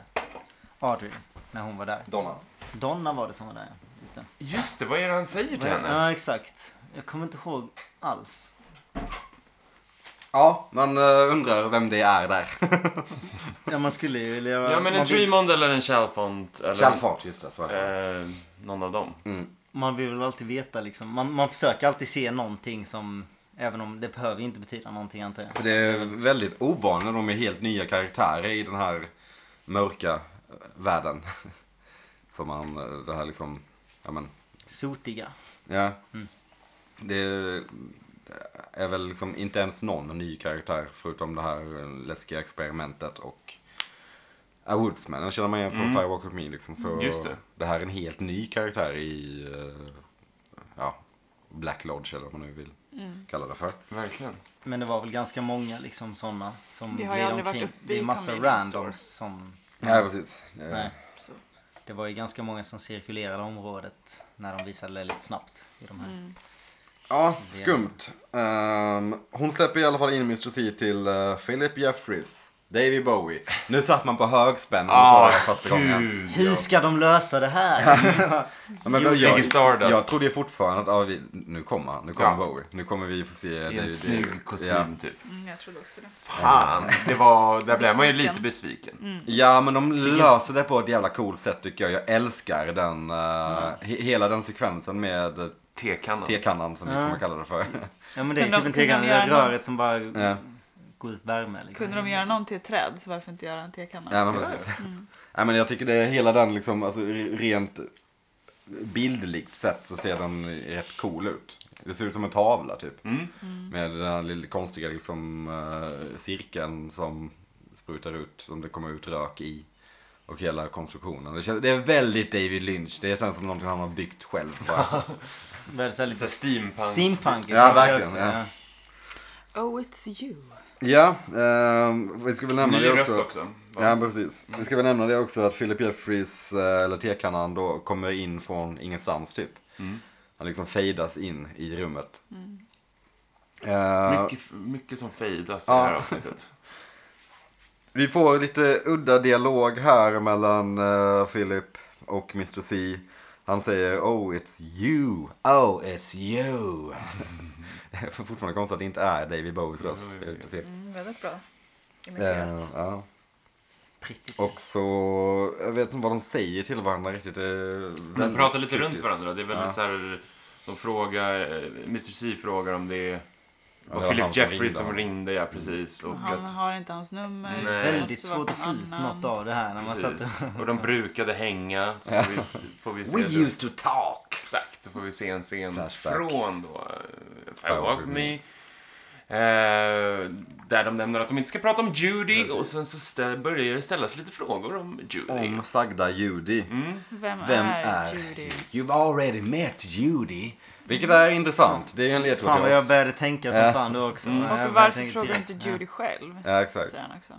S1: Audrey, när hon var där.
S4: Donna.
S1: Donna var det som var där, ja. Just det.
S2: Just det, vad är det han säger till henne?
S1: Ja, exakt. Jag kommer inte ihåg alls.
S4: Ja, man eh, undrar vem det är där.
S1: Ja, man skulle ju vilja...
S2: Ja, men en
S1: man, vill,
S2: Tremond eller en Chalfont. Eller,
S4: Chalfont, just det. Så. är det.
S2: Eh, någon av dem.
S1: man vill väl alltid veta liksom. Man, man försöker alltid se någonting som... Även om det behöver ju inte betyda någonting, antar jag.
S4: För det är väldigt ovanligt när de är helt nya karaktärer i den här mörka eh, världen. Som man, eh, det här liksom, ja men,
S1: Sotiga.
S4: ja. Mm. Det är- är väl liksom inte ens någon ny karaktär förutom det här eh, läskiga experimentet och A Woodsman. Den känner man igen från Firewalk With Me liksom. Så
S2: Mm. Just det.
S4: här är en helt ny karaktär i, eh, ja, Black Lodge eller vad man nu vill kalla det för.
S2: Verkligen.
S1: Men det var väl ganska många liksom sådana som
S3: Vi har ju
S1: gled
S3: aldrig varit
S1: omkring.
S3: uppe
S1: Det är
S3: i
S1: massa
S3: convenience
S1: randoms
S3: store.
S1: som...
S4: Nej, precis. Eh,
S1: Nej.
S3: Så.
S1: Det var ju ganska många som cirkulerade området när de visade det lite snabbt i de här.
S3: Mm.
S4: Ja, skumt. Ehm, hon släpper i alla fall in Mr. C till eh, Philip Jeffries. David Bowie. Nu satt man på högspänn och sa
S2: Ah,
S4: det första gången.
S2: gud, ja.
S1: Hur ska de lösa det här?
S4: Ja, men
S2: Ziggy
S4: jag,
S2: Stardust.
S4: jag trodde ju fortfarande att ah, vi, nu kommer han, nu kommer
S2: Ja.
S4: Bowie. Nu kommer vi få se
S2: I en snygg kostym,
S4: Ja.
S2: typ.
S3: Mm, jag trodde också det.
S2: Fan, det var, där blev man ju
S3: Besviken.
S2: lite besviken.
S4: Mm. Ja, men de löser det på ett jävla coolt sätt tycker jag. Jag älskar den, eh, he- hela den sekvensen med
S2: Tekannan.
S4: tekannan som vi
S1: Ja.
S4: kommer kalla det för.
S1: Ja men det är
S3: Kunde
S1: typ
S3: de-
S1: en tekan,
S3: kunde de
S1: det
S3: göra
S1: där
S3: någon-
S1: röret som bara
S4: Ja.
S1: går ut värme. Liksom.
S3: Kunde de göra någon till ett träd så varför inte göra en tekanna?
S4: Ja, men precis. Ja, men jag tycker det är hela den liksom, alltså re- rent bildligt sett så ser den rätt cool ut. Det ser ut som en tavla typ.
S2: Mm.
S4: Med den här lilla konstiga liksom eh, cirkeln som sprutar ut, som det kommer ut rök i. Och hela konstruktionen. Det, känns, det är väldigt David Lynch. Det känns som någonting han har byggt själv bara.
S1: Väldigt så här
S2: Så
S1: lite
S2: steampunk.
S1: steampunk.
S4: Ja, verkligen, ja.
S3: Oh, it's you.
S4: ja, ehm, vi ska väl nämna
S2: Ny
S4: det
S2: röst
S4: också.
S2: också.
S4: Ja, precis. Vi ska väl nämna det också att Philip Jeffries, eh, eller tekannan då, kommer in från ingenstans typ. Han liksom fejdas in i rummet. Eh,
S2: Mycket, mycket som fejdas i
S4: Ja.
S2: det här avsnittet.
S4: vi får lite udda dialog här mellan eh, Philip och Mr. C. Han säger Oh it's you, oh it's you. det är fortfarande konstigt att det inte är David Bowies röst. Det är lite segt.
S3: Mm, väldigt bra.
S4: Eh,
S3: Imiterat.
S4: ja.
S1: Brittisk.
S4: Och så, jag vet inte vad de säger till varandra riktigt. Eh,
S2: De
S4: De
S2: pratar lite runt varandra. Det är väldigt så här, de frågar, eh, Mr C frågar om det är-
S4: det
S2: var
S4: var han
S2: Philip
S4: som
S2: Jeffries
S4: ringde.
S2: som ringde, ja precis. Och
S3: Han
S2: att,
S3: har inte hans nummer.
S2: Nej.
S3: så det
S1: Väldigt
S3: måste vara
S1: svårt att få
S3: någon
S1: ut
S3: annan.
S1: något av det här när man satt
S2: precis. Och de brukade hänga. Så får vi, får vi se det.
S4: to talk.
S2: Exakt, så får vi se en scen
S4: Flashback.
S2: från då eh, Fire
S4: Fire
S2: Walk
S4: With
S2: With
S4: Me.
S2: Me. Eh, där de nämner att de inte ska prata om Judy och sen så stä- börjar det ställas lite frågor om Judy.
S4: Om sagda Judy.
S3: Vem,
S4: Vem
S3: är,
S4: är
S3: Judy?
S4: You've already met Judy. Vilket är intressant. Det är en ledtråd
S1: Fan vad
S4: till
S1: jag
S4: oss.
S1: började tänka som
S4: Ja.
S1: fan då också. Jag började
S3: Mm. Och varför
S1: tänka
S3: frågar du
S1: direkt.
S3: inte Judy själv?
S4: Ja, exakt.
S3: Säger han också.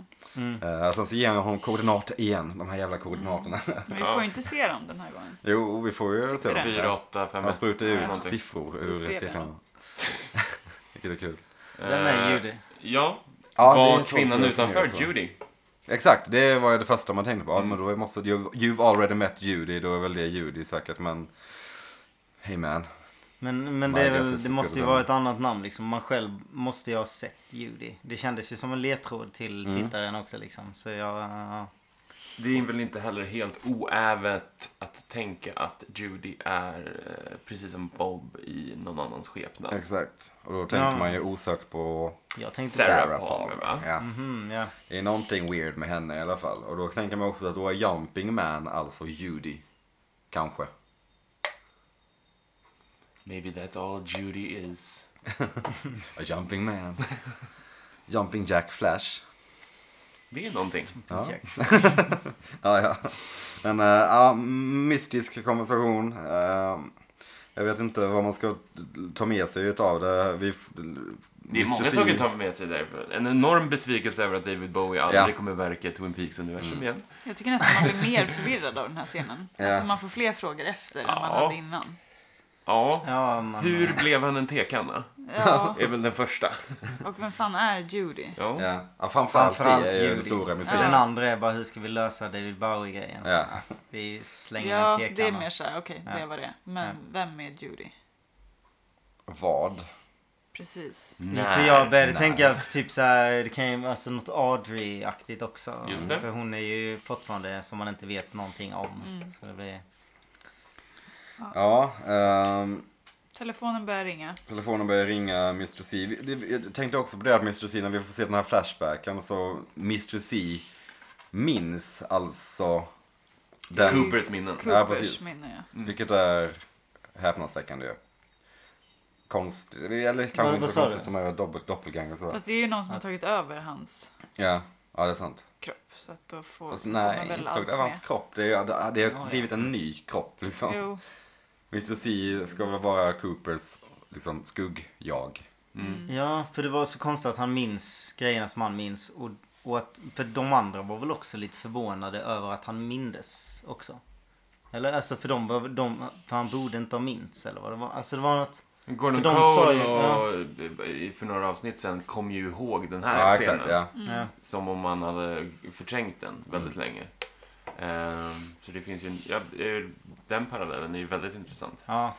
S4: Eh, sen så ger han honom koordinater igen. De här jävla koordinaterna.
S3: Men vi får ju inte se dem den här gången.
S4: jo, vi får ju se. dem.
S2: 4, 8, 5,
S4: Han sprutar ut
S2: någonting.
S4: siffror ur
S3: skrev
S4: tecknarna. Vilket är kul.
S1: Vem är Judy?
S2: Ja,
S4: Ja, det är
S2: var
S4: en tvåsidig
S2: kvinnan utanför
S4: fråga, så.
S2: Judy.
S4: Exakt, det var ju det första man tänkte på.
S2: Mm.
S4: Ja, men då måste, you've, you've already met Judy, då är väl det Judy säkert. Men, hey man.
S1: Men, men det, är
S4: My guess
S1: väl,
S4: is
S1: det
S4: as
S1: måste
S4: good
S1: ju
S4: as
S1: vara
S4: mine.
S1: ett annat namn liksom. Man själv måste ju ha sett Judy. Det kändes ju som en ledtråd till
S4: Mm.
S1: tittaren också liksom. Så jag... ja.
S2: Det är väl inte heller helt oävet att tänka att Judy är eh, precis som Bob i någon annans skepnad.
S4: Exakt. Och då tänker
S1: Ja.
S4: man ju osökt på
S1: Jag tänkte...
S2: Sarah
S4: Sarah
S2: Palmer,
S4: Palmer.
S2: va?
S4: Ja.
S1: Mm, ja.
S4: Det är någonting weird med henne i alla fall. Och då tänker man också att då är Jumping Man alltså Judy. Kanske.
S2: Maybe that's all Judy is.
S4: A jumping Man. jumping Jack Flash.
S2: Det är någonting.
S4: Ja.
S1: Jack.
S4: Ja, ja. Men eh, ja, mystisk konversation. Eh, jag vet inte vad man ska ta med sig utav det. Vi,
S2: Det är många saker att ta med sig därifrån. En enorm besvikelse över att David Bowie aldrig
S4: Ja. Mm.
S2: kommer verka i Twin Peaks-universum igen.
S3: Jag tycker nästan man blir mer förvirrad av den här scenen.
S4: Ja.
S3: Alltså man får fler frågor efter än man
S2: Ja.
S3: hade innan.
S2: Ja.
S1: Ja, man...
S2: Hur blev han en tekanna?
S3: Ja,
S2: är väl den första.
S3: och vem fan är Judy?
S2: Ja.
S4: Ja, ja framförallt,
S1: Framförallt
S4: det är ju det
S1: Judy.
S4: stora
S1: Den
S4: mysteriet.
S1: andra är bara hur ska vi lösa David Bowie-grejen?
S4: Ja.
S1: Vi slänger
S3: Ja,
S1: en tekanna.
S3: det är mer såhär, okej, det
S1: Ja.
S3: var det. Men vem är Judy?
S4: Vad?
S3: Precis.
S4: Mm.
S1: För jag började tänka typ så här, det kan ju vara alltså något Audrey-aktigt också.
S2: Just det.
S1: För hon är ju fortfarande som man inte vet någonting om. Så det blir...
S4: Ja, ehm,
S3: Telefonen börjar ringa.
S4: Telefonen börjar ringa Mr. C. Vi- det- Jag tänkte också på det att Mr. C, när vi får se den här flashbacken, så Mr. C minns alltså den,
S2: Coopers minnen.
S4: Ja,
S3: Coopers
S4: precis.
S3: minne ja.
S1: Mm.
S4: vilket är häpnadsväckande ju. Konstigt, eller kanske
S1: Vad-
S4: inte
S1: vad
S4: så
S1: sa
S4: konstigt,
S1: du?
S4: de här doppel, doppelgangers och så.
S3: Fast det är ju någon som har tagit över hans
S4: Ja, ja det är sant.
S3: kropp. Så att då får
S4: Fast,
S3: kommer
S4: nej,
S3: väl
S4: inte tagit
S3: allt
S4: över hans
S3: med.
S4: kropp. Det, är, det, det har blivit en ny kropp liksom.
S3: Jo,
S4: Mr. C ska väl vara Coopers liksom, skugg-jag.
S1: Ja, för det var så konstigt att han minns grejerna som han minns. Och, och att, för de andra var väl också lite förvånade över att han mindes också. Eller alltså för de, var- de för han borde inte ha minns eller vad det var. Alltså det var något... För
S2: Gordon
S1: de sa
S2: Cole
S1: ju-
S2: och i- för några avsnitt sen kom ju ihåg den här
S4: Ja,
S2: scenen.
S4: exakt. Ja. Mm.
S1: Ja.
S2: Som om man hade förträngt den väldigt länge. Ehm, så det finns ju, en- ja, eh, den parallellen är ju väldigt intressant.
S1: Ja.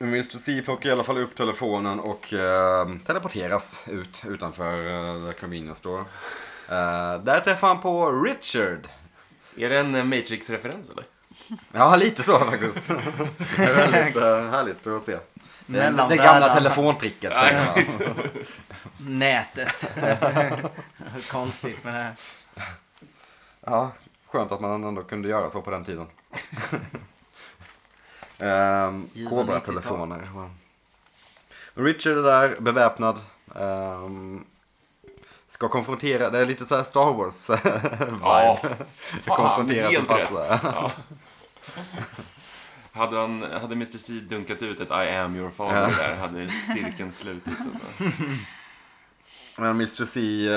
S4: Mr. C plockar i alla fall upp telefonen och eh, teleporteras ut utanför eh, The Convenience Store. Eh, där träffar han på Richard.
S2: Är det en eh, Matrix-referens eller?
S4: Ja, lite så faktiskt. Det är väldigt eh, härligt att se. Det, är
S1: Mellan
S4: det gamla
S1: världarna.
S4: telefontricket.
S2: Ja,
S1: Nätet. Konstigt men eh, det här.
S4: Ja, skönt att man ändå kunde göra så på den tiden. Ehm,
S1: Givna
S4: Kobra-telefoner. va. Richard är där, beväpnad. Ehm, ska konfrontera, det är lite så här Star Wars vibe.
S2: Ja,
S4: Ska konfrontera som
S2: helt rätt.
S4: passar.
S2: Hade, han, hade Mr. C dunkat ut ett I am your father där hade cirkeln slutits. Alltså.
S4: Men Mr. C eh,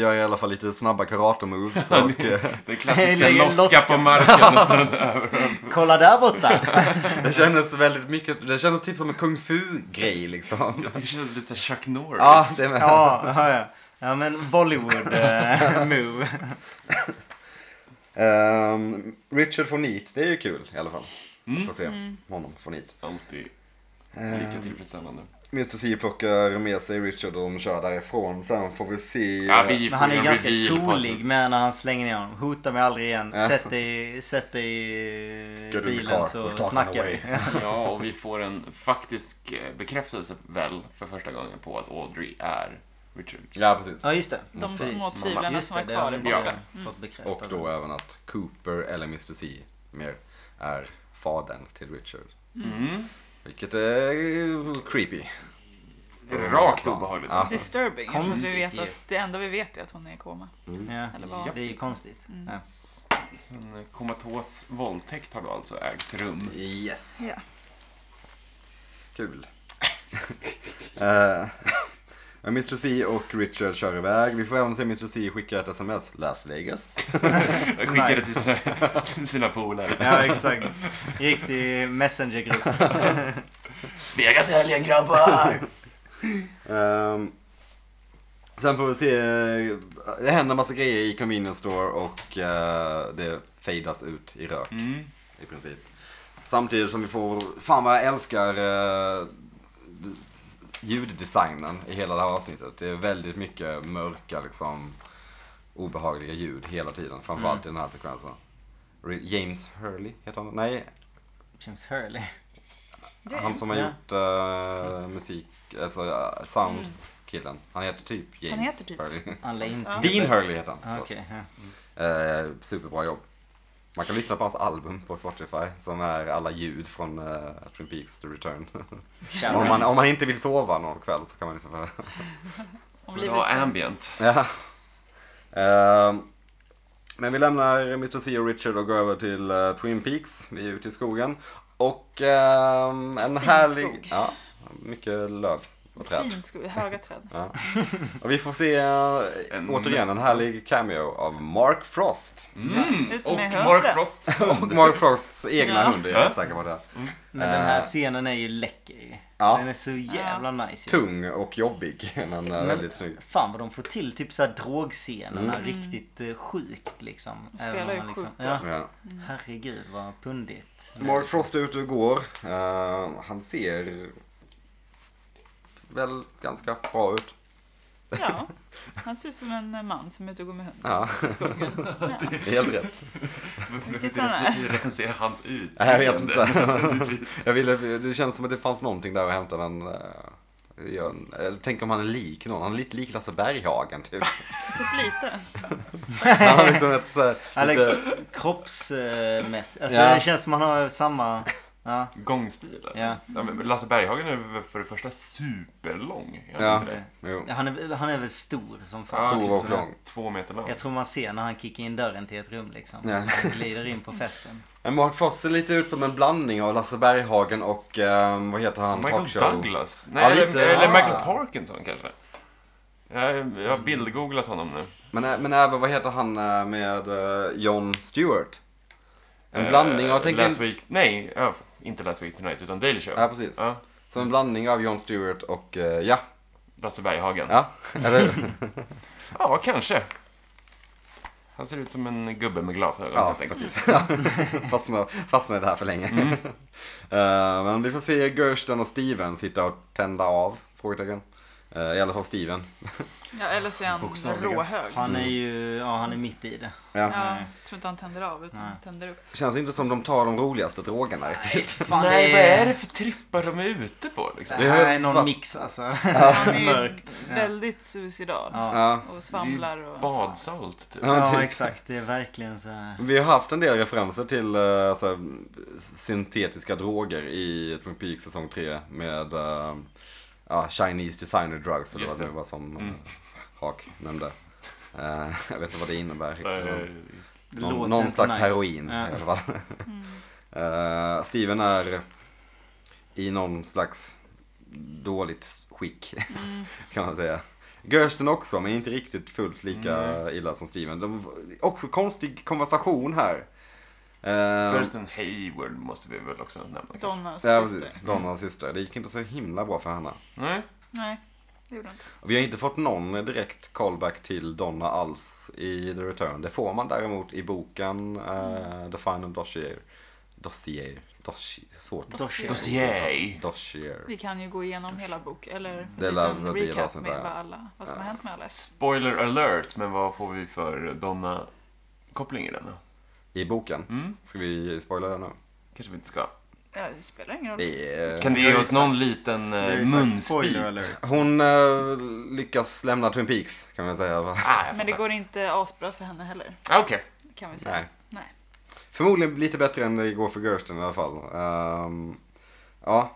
S4: gör i alla fall lite snabba karate-moves. Och, eh,
S2: Den klassiska
S1: Lägger
S2: loska
S1: loska.
S2: på marken Alltså, och sen över.
S1: Kolla där borta.
S4: det kändes väldigt mycket, det kändes typ som en kung fu-grej liksom.
S2: Det känns lite såhär Chuck Norris.
S4: Ja, det är med.
S1: Ja, ja, ja. ja men Bollywood eh, move.
S4: Ehm, Richard von Neat, det är ju kul i alla fall.
S2: Mm.
S4: Att få se
S1: Mm.
S4: honom von Neat.
S2: Alltid
S4: Eh.
S2: lika tillfredsställande.
S4: Mr. C plockar med sig Richard och de kör därifrån. Sen får vi se...
S2: Ja, vi
S1: Men
S2: får
S1: han
S2: ju
S1: är
S2: en
S1: ganska
S2: reveal på att-
S1: coolig med när han slänger ner honom. Hota mig aldrig igen.
S4: Ja.
S1: Sätt dig, sätt dig i
S4: Get in the car.
S1: bilen
S4: We're
S1: så
S4: talking
S1: snackar
S4: away.
S1: vi.
S2: Ja, och vi får en faktisk eh, bekräftelse väl för första gången på att Audrey är Richards
S4: Ja, precis.
S1: Ja just det.
S3: De
S1: Precis.
S3: små tvivlarna
S1: Just
S3: som
S1: det,
S3: var
S1: det har
S3: kvar
S1: vi
S3: i
S1: inte
S2: Ja.
S3: boken.
S1: fått bekräftat.
S4: Och då eh, även att Cooper eller Mr. C mer är fadern till Richard.
S2: Mm.
S4: Vilket är creepy.
S2: Rakt obehagligt.
S4: Ja.
S3: Disturbing.
S1: Konstigt
S3: Konstigt, vi vet
S1: ju.
S3: att det enda vi vet är att hon är i koma.
S1: Ja,
S3: Eller vad? Mm.
S1: det är ju konstigt. Ja.
S2: En eh, komatos våldtäkt har då alltså ägt rum.
S4: Yes.
S3: Ja.
S4: Kul. Eh, Mr. C och Richard kör iväg. Vi får även se Mr. C skicka ett sms. Las Vegas.
S2: Jag skickade
S1: Nice.
S2: till sina, sina polare.
S1: Ja exakt. Riktig messengergrupp.
S2: Vegas i helgen grabbar!
S4: Ehm, sen får vi se. eh, Det händer massa grejer i convenience store och eh, det fadas ut i rök
S2: Mm.
S4: i princip. Samtidigt som vi får, fan vad jag älskar eh, s- ljuddesignen i hela det här avsnittet. Det är väldigt mycket mörka liksom obehagliga ljud hela tiden. Framförallt i den här sekvensen. Re- James Hurley heter han? Nej,
S1: James Hurley.
S4: han som har
S1: Ja.
S4: gjort eh, musik, alltså eh, sound. Killen. Han heter typ James
S3: heter typ-
S4: Hurley.
S1: Han lär inte.
S3: Ja.
S4: Dean Hurley heter han.
S1: Ah,
S4: förlåt.
S1: Okej. ja.
S4: Eh, superbra jobb. Man kan lyssna på hans album på Spotify som är alla ljud från eh, Twin Peaks The Return. om, man, om man inte vill sova någon kväll så kan man lyssna på det.
S3: Om
S2: Vill
S3: livet
S2: ha
S3: känns-
S2: ambient.
S4: Ja. Ehm, men vi lämnar Mr. C och Richard och går över till eh, Twin Peaks. Vi är ute i skogen. Och ehm, en härlig...
S3: skog.
S4: Ja, mycket löv och träd.
S3: Fint skog, höga träd.
S4: Ja. Och vi får se eh,
S2: En- Mm.
S4: återigen en härlig cameo av Mark Frost.
S3: Ut
S2: Och
S3: med
S2: Mark
S3: hunden.
S2: Frost.
S4: Och Mark Frosts egna
S3: Ja.
S4: hund är jag helt säker på det.
S1: Men den här scenen är ju läcker ju.
S4: Eh. Ja.
S1: Den är så jävla nice ju.
S4: Tung och jobbig, men, eh, väldigt snygg.
S1: Fan vad de får till typ såhär drogscenerna
S4: Mm.
S1: riktigt eh, sjukt liksom.
S3: spelar
S1: Även om
S3: ju
S1: man liksom
S3: sjukt Mm.
S1: ja.
S4: Ja.
S1: Herregud vad pundigt.
S4: Mark Frost är ute och går. Eh, han ser väl ganska bra ut.
S3: Ja, han ser ut som en eh, man som är ute och går med hund.
S4: Ja,
S3: i Skogen.
S4: helt rätt.
S3: Vilket han är.
S2: Vi recenserar hans utseende.
S4: Jag vet inte.
S2: naturligtvis.
S4: Jag ville, det känns som att det fanns någonting där att hämta, men... eh, jag, eh, tänk om han är lik någon. Han är lite lik Lasse Berghagen, typ.
S3: Typ lite.
S4: Han har liksom ett så här, lite,
S1: Eller kroppsmässigt. Alltså
S4: Ja.
S1: det känns som man har samma. Ja.
S2: Gångstilen.
S1: Ja.
S2: Ja, men Lasse Berghagen är väl för det första superlång. Är han
S4: Ja.
S2: inte det?
S4: jo.
S1: Han, är, han är väl stor som
S2: Ja,
S1: fan.
S4: Stor
S2: typ
S4: och
S2: sådär
S4: lång.
S2: Två meter lång.
S1: Jag tror man ser när han kickar in dörren till ett rum liksom.
S4: Ja.
S1: Han glider in på festen.
S4: Men Mark Frost ser lite ut som en blandning av Lasse Berghagen och, eh, vad heter han,
S2: Michael
S4: talkshow?
S2: Douglas? Nej,
S4: Ja,
S2: eller,
S4: lite.
S2: eller
S4: Ah.
S2: Michael Parkinson kanske? Jag, jag har bildgooglat honom nu.
S4: Men, ä- men även, vad heter han eh, med eh, Jon Stewart? En blandning av,
S2: Eh,
S4: tänk
S2: Last
S4: en-
S2: Week, nej, ja, inte Last Week Tonight, utan Daily Show.
S4: Ja, precis.
S2: Ja.
S4: Som en blandning av Jon Stewart och, eh, ja.
S2: Lasse Berghagen.
S4: Ja, eller hur?
S2: Ja, kanske. Han ser ut som en gubbe med glasögon
S4: Ja,
S2: helt enkelt. Mm.
S4: precis. fastnade, fastnade där för länge. Eh, men vi får se Gersten och Steven sitta och tända av, frågetecken. Eh, I alla fall Steven.
S3: Ja, eller så är han
S1: Bokstavligen.
S3: råhög.
S1: Han
S4: Mm.
S1: är ju, ja han är mitt i det.
S4: Ja.
S3: Ja, jag tror inte han tänder av utan
S1: Nej.
S3: tänder upp.
S4: Känns inte som de tar de roligaste drogerna riktigt.
S1: Fan,
S2: Nej, vad
S1: det
S2: är
S1: är,
S2: det för trippar de är ute på liksom?
S1: det här är någon mix alltså.
S3: Han är ju
S1: Mörkt. Ja.
S3: väldigt suicidal.
S4: Ja.
S3: Och
S2: Det är ju
S3: svamlar och...
S2: Badsalt, typ.
S4: Ja,
S1: ja
S4: typ.
S1: exakt, det är verkligen så här.
S4: Vi har haft en del referenser till eh, så här, syntetiska droger i Twin Peaks säsong 3 med eh, ja, Chinese designer drugs eller
S2: Just
S4: vad det
S2: det.
S4: var som mm. Hak nämnde. Eh, jag vet inte vad det innebär riktigt.
S2: Där, eh,
S1: Det
S4: Någon,
S1: låter
S4: någon
S1: inte
S4: slags
S1: nice.
S4: heroin
S1: Ja.
S4: i alla fall. Eh, Steven är i någon slags dåligt skick kan man säga. Gersten också, men inte riktigt fullt lika illa som Steven. De, också konstig konversation här. Eh,
S2: Thurston Hayward måste vi väl också nämna. kanske.
S3: Donnas
S4: ja,
S3: syster.
S4: precis. Donnas syster. Det gick inte så himla bra för henne.
S2: Nej,
S3: Nej, det gjorde han inte.
S4: Vi har inte fått någon direkt callback till Donna alls i The Return. Det får man däremot i boken eh, The Final Dossier. Dossier. Dossier. Svårt.
S1: Dossier.
S2: dossier.
S4: Dossier.
S3: Vi kan ju gå igenom hela bok eller en
S4: Det lär väl
S3: liten
S4: bli ett
S3: recap
S4: avsnitt
S3: med
S4: där.
S3: vad, alla, vad som har hänt med alla.
S2: Spoiler alert, men vad får vi för Donna-koppling i den? då?
S4: I boken. Ska vi spoila den nu?
S2: Kanske vi inte ska.
S3: Ja, det spelar ingen roll.
S4: Det är,
S2: Kan det
S1: vi
S2: ge
S1: Eh, har
S2: oss
S1: ju sagt-
S2: någon liten
S1: Det är
S2: eh,
S1: ju sagt
S2: munsbit?
S1: spoiler alert.
S4: Hon eh, lyckas lämna Twin Peaks kan man säga.
S2: Ah, jag
S3: Men det
S2: fattar.
S3: går inte asbra för henne heller,
S2: Ah, Okej.
S3: kan vi säga.
S4: Nej.
S3: Nej.
S4: Förmodligen lite bättre än det går för Gersten i alla fall. Ehm, ja.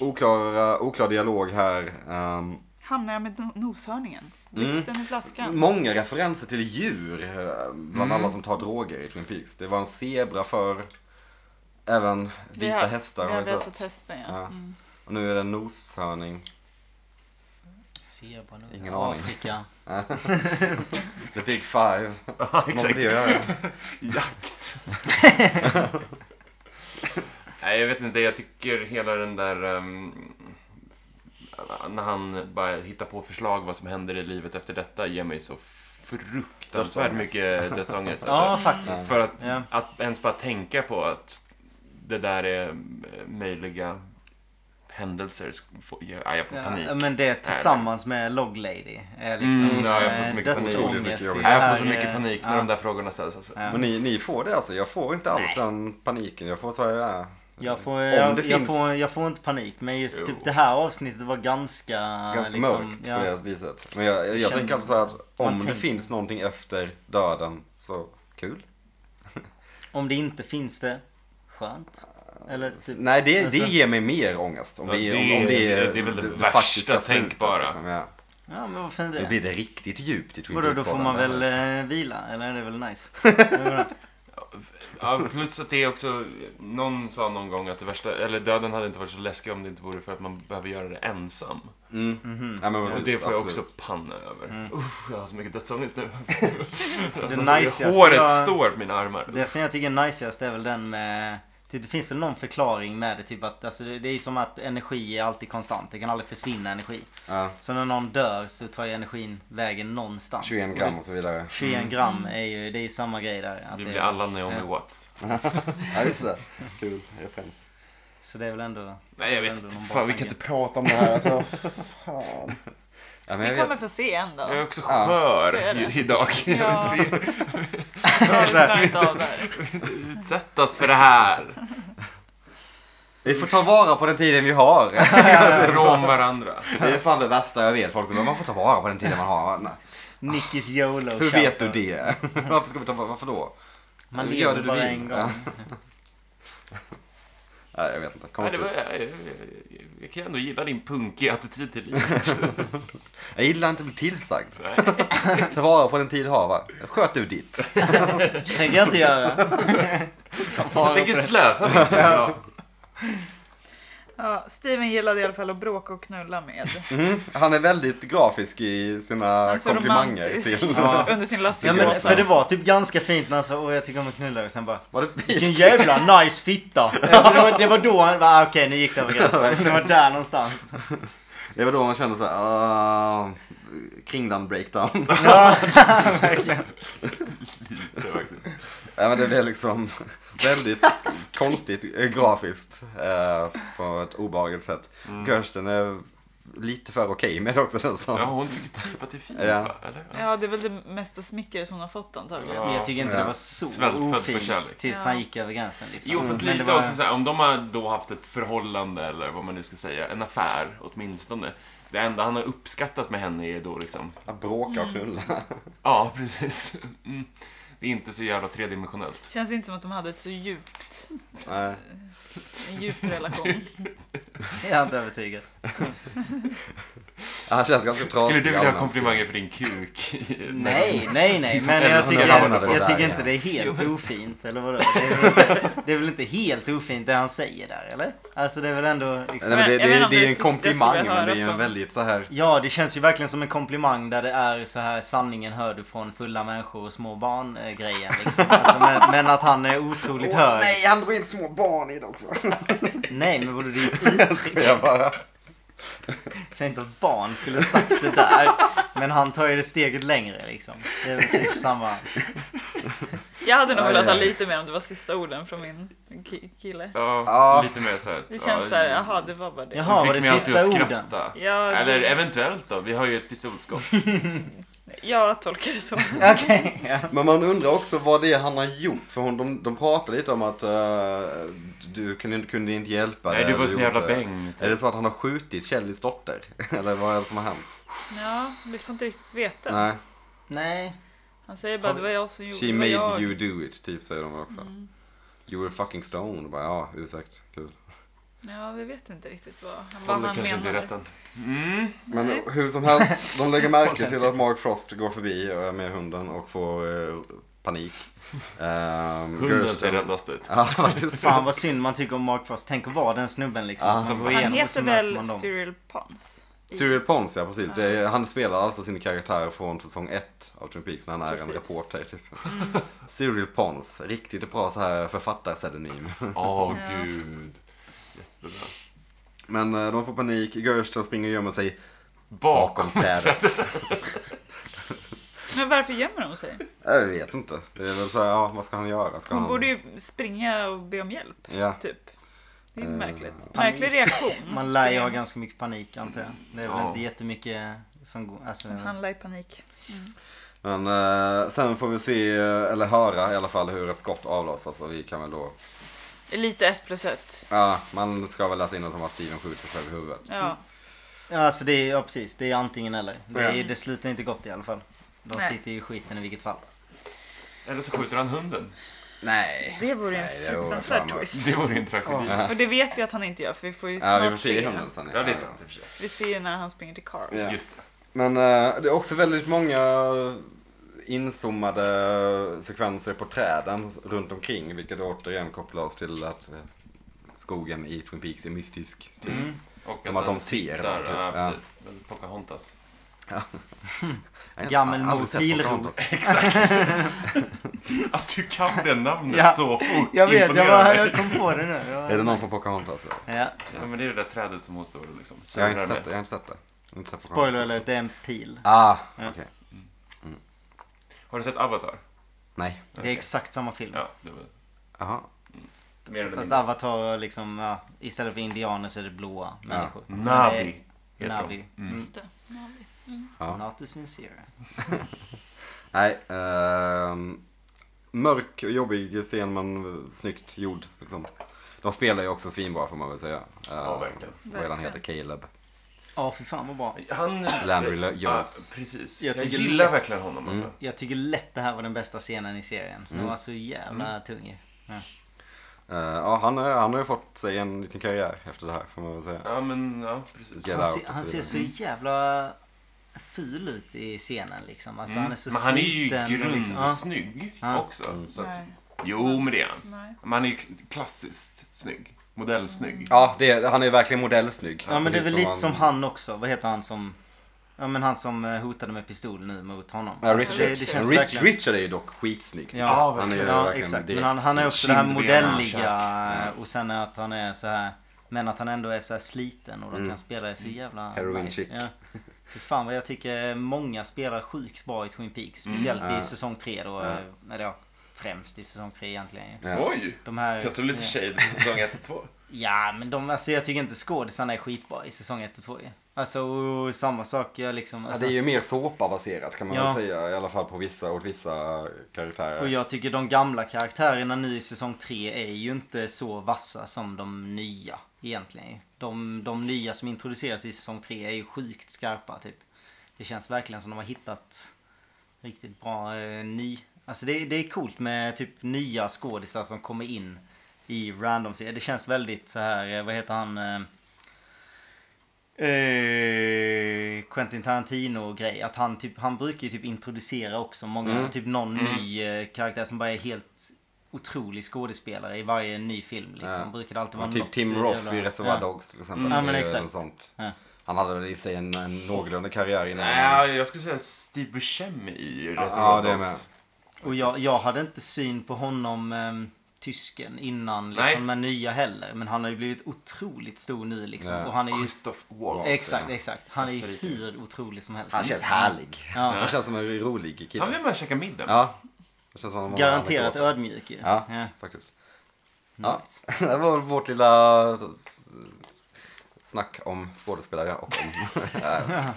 S4: Oklara, oklar dialog här. Ehm,
S3: Hamnar jag med no- noshörningen? Blixten i flaskan?
S4: Mm. Många referenser till djur eh,
S1: Mm.
S4: bland alla som tar droger i Twin Peaks. Det var en zebra för även
S3: Vi
S4: vita
S3: har-
S4: hästar
S3: Vi
S4: har
S3: har
S4: vi
S3: läst
S4: sett.
S3: hästen, ja.
S4: Ja.
S3: Mm.
S4: Och nu är det en noshörning.
S1: Zebra nu.
S4: Ingen aning.
S1: Afrika.
S4: The big five.
S2: Ah,
S4: Något det gör jag.
S2: Jakt. Nej, jag vet inte. Jag tycker hela den där... ehm, när han bara hittar på förslag vad som händer i livet efter detta ger mig så fruktansvärt
S4: Dödsångest.
S2: mycket dödsångest.
S1: Ja
S2: Alltså.
S1: faktiskt.
S2: För att,
S1: Ja.
S2: att ens bara tänka på att det där är eh, möjliga händelser. sk- får- Ja, jag får panik.
S1: Ja, men det tillsammans med Log Lady är liksom
S2: Mm, ja, jag får så
S1: eh,
S2: mycket panik.
S1: dödsångest
S4: Mycket
S1: i
S4: jobbigt.
S2: Nej, jag får
S1: här,
S2: så mycket
S1: eh,
S2: panik när
S1: ja.
S2: de där frågorna ställs. Alltså.
S1: Ja.
S4: Men ni, ni får det alltså. Jag får inte alls den paniken. Jag får så här, ja.
S1: Jag får,
S4: Om
S1: jag,
S4: det
S1: jag,
S4: finns-
S1: får, jag får inte panik men just
S2: Jo.
S1: typ det här avsnittet var ganska...
S4: Ganska
S1: liksom,
S4: mörkt
S1: ja.
S4: på det viset. Men jag, jag, jag tänker alltså så här att om
S1: Man
S4: det
S1: tänker-
S4: finns någonting efter döden så kul.
S1: Om det inte finns det, skönt. Eller typ...
S4: Nej, det, det
S1: Alltså-
S4: ger mig mer ångest. Om
S2: Ja,
S4: det, är-
S2: det
S4: om, om det,
S2: är-
S4: är,
S2: det är väl det
S4: faktiska
S2: värsta
S4: slutet,
S2: tänkbara.
S4: liksom, ja.
S1: Ja men varför
S4: Då
S1: inte
S4: blir
S1: det?
S4: det riktigt djupt i Twin
S1: Vadå, då får
S4: Peaks-podden.
S1: man väl eh, vila? Eller det är väl nice? Ja,
S2: Ja, plus att det är också, någon sa någon gång att det värsta, eller döden hade inte varit så läskig om det inte vore för att man behöver göra det ensam.
S4: Mm. Ja, men
S2: Och
S4: precis,
S2: det får jag
S4: absolut.
S2: också panna över. Uff, jag har så mycket dödsångest nu.
S1: det
S2: Alltså,
S1: najsigaste
S2: Håret
S1: var-
S2: står på mina armar.
S1: Det som jag tycker är najsigast är väl den med... typ, Det det finns väl någon förklaring med det, typ att alltså, det det är ju som att energi är alltid konstant. Det kan aldrig försvinna energi.
S4: Ja,
S1: Så när någon dör så tar ju energin vägen någonstans.
S4: 21 gram och så vidare.
S1: 21 gram är ju, det är ju samma grej där. Att
S2: Vi
S1: det
S2: blir alla Naomi Watts.
S4: Ja, just det. Kul referens.
S1: så det är väl ändå...
S2: Nej, jag vet
S1: ändå
S2: inte.
S1: någon
S2: Fan, vi
S1: baktanke.
S2: kan inte prata om det här. Alltså.
S4: Ja, men
S3: Vi
S4: jag
S3: kommer
S4: vet.
S3: få se en
S2: Jag är
S3: dag.
S2: också
S4: Ja.
S2: skör
S3: Så är det.
S2: i- idag.
S3: Ja.
S1: Ja, så här.
S3: Jag klarar inte av det här.
S2: Utsättas för det här.
S4: Vi får ta vara på den tiden vi har.
S2: Från varandra.
S4: Det är fan det värsta jag vet. Folk säger, men man får ta vara på den tiden man har. Nej.
S1: Nickis YOLO
S4: Hur vet du
S1: shoutout.
S4: det? Varför ska vi ta vara? Varför då?
S1: Man
S4: Gör
S1: lever
S4: det du
S1: bara
S4: vill.
S1: en gång.
S4: Nej, jag vet inte.
S2: Nej, det
S4: Konstigt.
S2: var, jag, jag, jag, jag kan ju ändå gilla din punkiga attityd till livet.
S4: Jag gillar inte att bli tillsagd.
S2: Nej.
S4: Ta vara på den tid du har, va? Sköt du ditt.
S1: tänker jag inte göra. Ta
S2: Jag
S1: vara på
S2: tänker
S1: det.
S2: slösa min tid idag.
S3: Ja, Steven gillade i alla fall att bråka och knulla med.
S4: Mm. Han är väldigt grafisk i sina
S3: Han är så
S4: komplimanger
S3: romantisk.
S4: till...
S1: Ja.
S3: Under sin
S1: Ja,
S3: lasso.
S1: men, för det var typ ganska fint när han sa åh jag tycker om att knulla och sen bara
S4: Var det fint?
S1: vilken jävla nice fitta. Alltså, det, var, det var då han bara okej nu gick det över gränsen. Det var där någonstans.
S4: Det var då man kände såhär, uh, kringland breakdown.
S1: Ja, verkligen.
S4: ja, men det blev liksom väldigt konstigt eh, grafiskt eh, på ett obehagligt sätt.
S3: Mm.
S4: Kirsten är lite för okej med det också känns det som.
S2: Ja, hon tycker typ att det är fint,
S4: Ja.
S2: va? Eller?
S3: Ja, det är väl det mesta smickret hon har fått antagligen.
S2: Ja.
S1: Men jag tycker inte det var så
S2: Svältfödd på kärlek.
S1: ofint tills han gick över gränsen. Liksom.
S4: Mm,
S2: Jo, fast
S1: Men det
S2: lite
S1: var-
S2: också så här, om de har då haft ett förhållande eller vad man nu ska säga, en affär åtminstone. Det enda han har uppskattat med henne är då liksom,
S4: Att bråka och
S3: Mm.
S4: knulla.
S2: ja precis. Mm. Det är inte så jävla tredimensionellt.
S3: Känns inte som att de hade ett så djupt,
S4: Nej.
S3: en djup relation.
S1: Jag är inte övertygad.
S4: Han känns ganska trasig.
S2: Skulle du vilja ha
S4: allmänt.
S2: komplimanger för din kuk?
S1: Nej, nej, nej.
S2: Som
S1: Men jag
S2: älskar
S1: tycker,
S4: hamnade på
S1: jag,
S4: där,
S1: tycker
S4: ja.
S1: inte det är helt ofint. Eller vadå? Det, är väl inte, det är väl inte helt ofint det han säger där, eller? Alltså det är väl ändå
S4: Nej,
S1: liksom...
S4: men
S3: Jag
S4: det,
S3: vet inte
S4: det,
S3: om
S4: det, är
S3: det
S4: ju
S3: är sista
S4: en
S3: jag skulle
S4: komplimang men
S3: höra
S4: det är ju en
S3: från-
S4: väldigt så här
S1: Ja, det känns ju verkligen som en komplimang där det är så här sanningen hör du från fulla människor och små barn eh, grejen liksom. alltså, men, men att han är otroligt hög. Nej.
S4: han drog in små barn i det också.
S1: men vadå det är ju ett uttryck.
S4: Jag bara,
S1: Säg inte att barn skulle ha sagt det där. Men han tar ju det steget längre liksom. Det är väl typ samma.
S3: Jag hade nog
S4: Aj,
S3: velat ha
S4: aj.
S3: lite mer om det var sista orden från min ki- kille.
S2: Ja,
S4: Ja.
S2: lite mer så här.
S3: Det känns så här, jaha det var bara det.
S1: Jaha.
S2: Ja,
S1: var
S2: fick
S1: det
S2: mig alltid att
S1: sista orden?
S2: skratta.
S3: Ja, det-
S2: Eller eventuellt då, vi har ju ett pistolskott.
S3: Jag tolkar det så.
S1: Okej. ja.
S4: Men man undrar också vad det är han har gjort. För hon, de, de pratar lite om att eh, du kunde, kunde inte hjälpa
S2: Nej,
S4: det
S2: du var så jävla
S4: gjorde.
S2: bäng. typ.
S4: Är det så att han har skjutit Kellys dotter? Eller vad är det som har hänt?
S3: Ja, vi får inte riktigt veta.
S4: Nej.
S1: Nej.
S3: Han säger bara det var jag som gjorde
S4: She
S3: det. var
S4: made
S3: jag. Mm.
S4: you do it, typ säger de också. You were fucking stoned. Bara, ja, ursäkt. Kul.
S3: Ja, vi vet inte riktigt vad, vad
S2: Vad
S3: han
S2: kanske inte är
S3: menar.
S2: rätt än. Mm.
S4: Men hur som helst, de lägger märke till att Mark Frost går förbi eh, med hunden och får eh, panik. Um,
S2: Hunden ser räddast ut.
S4: Ja, faktiskt.
S1: Fan vad synd man tycker om Mark Frost. Tänk att vara den snubben liksom.
S4: Ja.
S1: Som går
S3: Han
S1: igenom och så
S3: heter
S1: möter man
S3: väl
S1: dem.
S3: Cyril Pons? I-
S4: Cyril Pons, ja precis. Det är, han spelar alltså sin karaktär från säsong 1 av Twin Peaks, men han är en
S3: Precis. Mm.
S4: reporter typ. Cyril Pons, riktigt bra så här författarpseudonym.
S2: Åh
S3: Ja.
S2: gud. Jättebra.
S4: Men eh, de får panik, Gersten springer och gömmer sig
S2: Bakom.
S4: bakom trädet.
S3: Men varför gömmer hon sig?
S4: Jag vet inte. Det är väl så här, ja vad ska han göra? Ska
S3: Hon
S4: han...
S3: borde ju springa och be om hjälp,
S4: Ja.
S3: typ. Det är
S4: Eh,
S3: märkligt. Märklig reaktion.
S1: Man lär ju ha ganska mycket panik antar jag. Det är väl
S2: Ja.
S1: inte jättemycket som går. Alltså,
S3: Handla i panik.
S4: Men eh, sen får vi se, eh, eller höra i alla fall hur ett skott avlossas och vi kan väl då,
S3: Lite ett plus ett.
S4: ja man ska väl läsa in det som att Steven skjuter sig själv i huvudet.
S3: Ja.
S1: ja, alltså det är ja, precis. Det är antingen eller. Det, är,
S4: Ja.
S1: det slutar inte gott i alla fall. De
S3: Nej.
S1: sitter ju i skiten i vilket fall.
S2: Eller så skjuter han hunden.
S4: Nej.
S3: Det vore en
S4: Nej, det vore
S3: fruktansvärd
S4: fan-
S3: twist.
S2: Det vore en tragedi.
S3: Och det vet vi att han inte gör för vi får ju
S4: Ja
S3: snart
S4: vi får se i
S3: se.
S4: hunden sen.
S2: Ja, det är sant i och för sig.
S3: Vi ser ju när han springer till Carl.
S4: Ja.
S2: Just det.
S4: Men eh, det är också väldigt många inzoomade sekvenser på träden runt omkring vilket återigen kopplar oss till att eh, skogen i Twin Peaks är mystisk. Typ.
S2: Och
S4: Som att de
S2: han
S4: ser
S2: tittar,
S4: dem, typ.
S2: Ja,
S4: Ja.
S2: precis. Men Pocahontas.
S4: Jag har
S1: Gammel
S4: aldrig
S1: mot
S4: sett
S1: bilrot.
S4: Pocahontas.
S2: Att du kan det namnet
S1: Ja.
S2: så fort.
S1: Jag vet, jag,
S2: Imponerande.
S1: bara, jag kom på det nu. Jag-
S4: Är det någon från Pocahontas? Ja.
S1: Ja.
S2: Ja, men det är det där trädet som hon står och liksom
S4: Jag har inte
S2: surrar
S4: sett det.
S2: med.
S4: Jag har inte sett det. Jag har inte sett
S1: Spoiler
S4: Pocahontas.
S1: alert, det är en pil.
S4: Ah,
S1: Ja.
S4: okej.
S2: Har du sett Avatar?
S4: Nej.
S1: Det är exakt samma film.
S2: Ja, det var
S4: Jaha.
S2: mer eller
S1: Fast
S2: mindre.
S1: Avatar har liksom, ja, istället för indianer så är det
S4: Ah.
S1: blåa människor.
S4: Mm.
S1: Men det är
S2: Navi heter
S1: Navi.
S2: de. Mm.
S3: Just det. Mm. Ja, vi-
S4: Ja.
S1: Not too sincere.
S4: Nej. ehm, mörk och jobbig scen men snyggt gjord. Liksom. De spelar ju också svinbra får man väl säga.
S2: Ja, verkligen.
S4: Vad är han heter? Caleb.
S1: Ja, fy fan vad bra.
S2: Han...
S4: Landry Lo- Mm. Jones.
S2: Ja, precis. Jag,
S1: Jag tycker
S2: gillar
S1: lätt.
S2: verkligen honom alltså.
S1: Jag tycker lätt det här var den bästa scenen i serien.
S4: Mm.
S1: Den var så jävla tung ju. Ja.
S4: Eh, ja, han, är- han har ju fått sig en liten karriär efter det här får man väl säga.
S2: Ja, men ja, precis.
S4: Get
S1: Han,
S4: out
S1: ser,
S4: och
S1: han
S4: så
S1: ser
S4: vidare.
S1: så jävla ful ut i scenen liksom. Alltså,
S4: Mm.
S1: han är så
S2: Men han är ju
S1: sliten och liksom- ja.
S2: grundsnygg
S1: Ja.
S4: Mm.
S2: också. Så att,
S3: Nej.
S2: jo, men det är han.
S3: Nej.
S2: Men han är ju k- klassiskt snygg. modellsnygg.
S4: Ja, det är, han är verkligen modellsnygg.
S1: Ja men det är
S4: Precis
S1: väl lite som
S4: han-
S1: han också. Vad heter han som... Ja men han som eh, hotade med pistol nu mot honom.
S4: Ja,
S1: Alltså,
S4: Richard.
S1: Det, det känns
S4: Rich,
S1: verkligen...
S4: Richard är ju dock skitsnygg. tycker
S1: Ja,
S4: jag.
S1: ja,
S4: han är ju verkligen
S1: exakt.
S4: direkt
S1: Men han, han är
S4: snygg.
S1: också det här
S2: kindben,
S1: modelliga
S2: kärk.
S1: och sen är att han är så här Men att han ändå är så här sliten och de kan spela det så jävla
S4: Mm. Heroin
S1: nice.
S4: chic.
S1: Ja. Fy Fan vad jag tycker många spelar sjukt bra i Twin Peaks. Speciellt
S4: Mm. Ja.
S1: i säsong 3 då. eh, Eller ja, främst i säsong 3 egentligen.
S4: Ja.
S2: Oj!
S1: De här... eh,
S2: Kastar du lite shade på säsong 1 och 2?
S1: Ja, men de, alltså jag tycker inte skådisarna är skitbra i säsong 1 och 2 ju. Alltså, och samma sak jag liksom.
S4: Ja,
S1: Alltså,
S4: det är ju mer såpabaserat kan man
S1: Ja.
S4: väl säga. I alla fall på vissa, åt vissa karaktärer.
S1: Och jag tycker de gamla karaktärerna nu i säsong 3 är ju inte så vassa som de nya egentligen. ju. De, de nya som introduceras i säsong 3 är ju sjukt skarpa typ. Det känns verkligen som de har hittat riktigt bra eh, ny... Alltså det, det är coolt med typ nya skådisar som kommer in i random serier. Det känns väldigt så här, eh, vad heter han? Eh, Eh, Quentin Tarantino grej. Att han, typ, han brukar ju typ introducera också många,
S4: Mm.
S1: typ någon ny eh, karaktär som bara är helt otrolig skådespelare i varje ny film. Liksom.
S4: Ja.
S1: Brukar det alltid vara
S4: Ja, typ
S1: något
S4: Tim
S1: jävla-
S4: Roth i Reservoir
S1: Ja. Mm.
S4: Dogs till exempel.
S1: Ja, men
S4: Det är
S1: exakt.
S4: något Sånt.
S1: Ja.
S4: Han hade väl i och för sig en, en någorlunda karriär innan.
S2: Nej, jag skulle säga Steve Buscemi i
S4: ja,
S2: Reservoir
S4: det är
S2: Dogs.
S4: med.
S1: Och jag, jag hade inte syn på honom, ehm, tysken, innan
S2: Nej.
S1: liksom, med nya heller. Men han har ju blivit otroligt stor nu liksom.
S4: Ja.
S1: Och han är ju...
S2: Christoph Waltz.
S1: Exakt, exakt. Han är ju
S2: Österrike.
S1: hur otrolig som helst.
S4: Han känns härlig.
S1: Ja.
S4: Han känns som en rolig kille.
S2: Han vill med och käka middag.
S4: Ja. Det känns som att han
S1: Garanterat
S4: han är
S1: ödmjuk ju.
S4: Ja,
S1: Ja.
S4: faktiskt. Ja.
S1: Nice.
S4: Det var vårt lilla eh, snack om skådespelare och om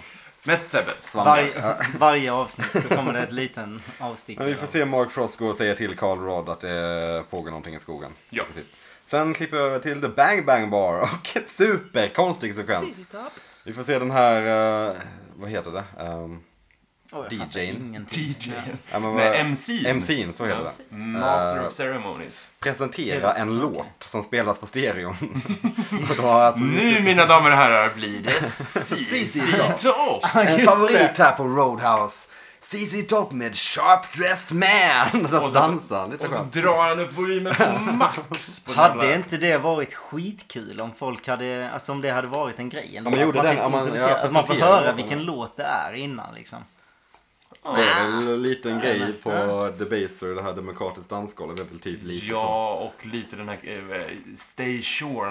S2: Mest Sebbes.
S4: svamp.
S1: Varje, varje avsnitt så kommer det ett liten avstick.
S4: Men vi får se om Mark Frost går och säger till Carl Rod att det pågår någonting i skogen.
S2: Ja.
S4: I princip. Sen klipper jag över till The Bang Bang Bar och ett superkonstig sekvens.
S3: Silltopp.
S4: Vi får se den här, eh, vad heter det? Um,
S1: Oh, jag fattar
S4: DJ'n.
S1: ingenting.
S2: DJ.
S4: ja, men vad-
S2: Nej, MC'n.
S4: MC'n, så heter det.
S2: Mm. Master
S4: Eh.
S2: of Ceremonies.
S4: Presentera en låt som spelas på stereon. och då har alltså
S2: Nu mina damer och herrar blir det CC
S4: CC Top.
S2: Top.
S4: En
S1: Just
S4: favorit här på Roadhouse. CC Top med Sharp Dressed Man. Och så
S2: Och så-
S4: dansar han lite
S2: Och så
S4: skönt.
S2: drar han upp volymen på max. På den
S1: Hade
S2: jävla-
S1: inte det varit skitkul om folk hade, alltså om det hade varit en grej ändå?
S4: Om man gjorde
S1: Att
S4: den,
S1: fick
S4: om man-
S1: introducera-
S4: ja,
S1: att man får
S4: presenterade
S1: höra
S4: den.
S1: vilken låt det är innan liksom.
S4: Det är väl en liten grej på Debaser, det här demokratiskt dansgolvet. Det är väl typ lite så.
S2: Ja, och lite den här eh, Stay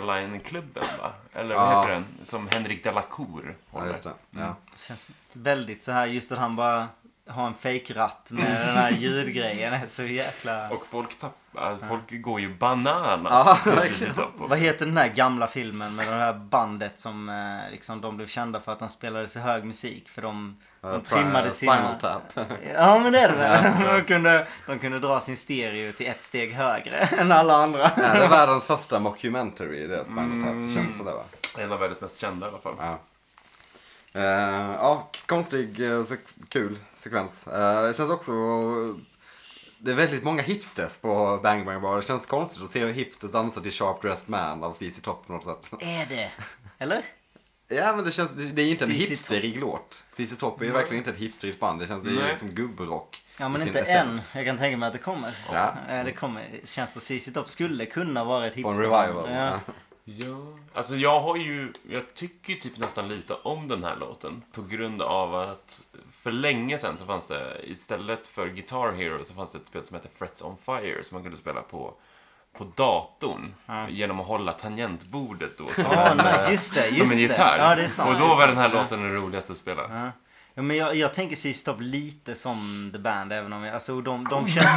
S2: Shoreline-klubben va? Eller vad
S4: Ja.
S2: heter den? Som Henrik de la Cour
S4: Ja,
S2: håller.
S4: just det. Ja.
S1: Det känns väldigt så här just att han bara har en fejkratt med den här ljudgrejen. Det är så jäkla...
S2: Och folk, tappar, alltså, folk går ju bananas till CC Top.
S1: Vad heter den här gamla filmen med det här bandet som eh, liksom, de blev kända för att de spelade så hög musik? För de, de trimmade sina...
S4: Spinal Tap.
S1: Ja men det är det väl. De kunde, de kunde dra sin stereo till ett steg högre än alla andra.
S4: Är det världens första mockumentary, det Spinal Tap? Känns sådär va?
S2: En av världens mest kända i alla fall.
S4: Ja. Eh, ja, k- konstig, eh, sek- kul sekvens. Eh, det känns också... Det är väldigt många hipsters på Bang Bang Bar. Det känns konstigt att se hipsters dansa till Sharp Dressed Man av CC Top på något sätt.
S1: Är det? Eller?
S4: Ja, men det känns... Det det är inte en
S1: ZZ Top.
S4: hipsterig låt. CC Top är ju verkligen inte ett hipsterigt band. Det känns... Det är
S2: Nej.
S4: liksom gubbrock.
S1: Ja
S4: i
S1: men
S4: sin
S1: inte än.
S4: essens.
S1: Jag kan tänka mig att det kommer.
S4: Ja.
S1: Eh, Det kommer. Känns det CC Top skulle kunna vara ett
S4: På en
S1: hipster.
S4: revival.
S1: Ja.
S2: Ja. Alltså jag har ju, jag tycker ju typ nästan lite om den här låten. På grund av att för länge sedan så fanns det, istället för Guitar Hero så fanns det ett spel som hette Frets on Fire som man kunde spela på, på datorn. Genom att hålla tangentbordet då som
S1: Ja,
S2: en,
S1: nice. Just det, just
S2: som en
S1: det.
S2: gitarr.
S1: Ja, det är sant.
S2: Och
S1: Det
S2: då
S1: är
S2: var
S1: sant.
S2: den här låten den roligaste att spela.
S1: Ja. Ja, men jag, jag tänker CC Top lite som The Band även om jag, alltså och de, de känns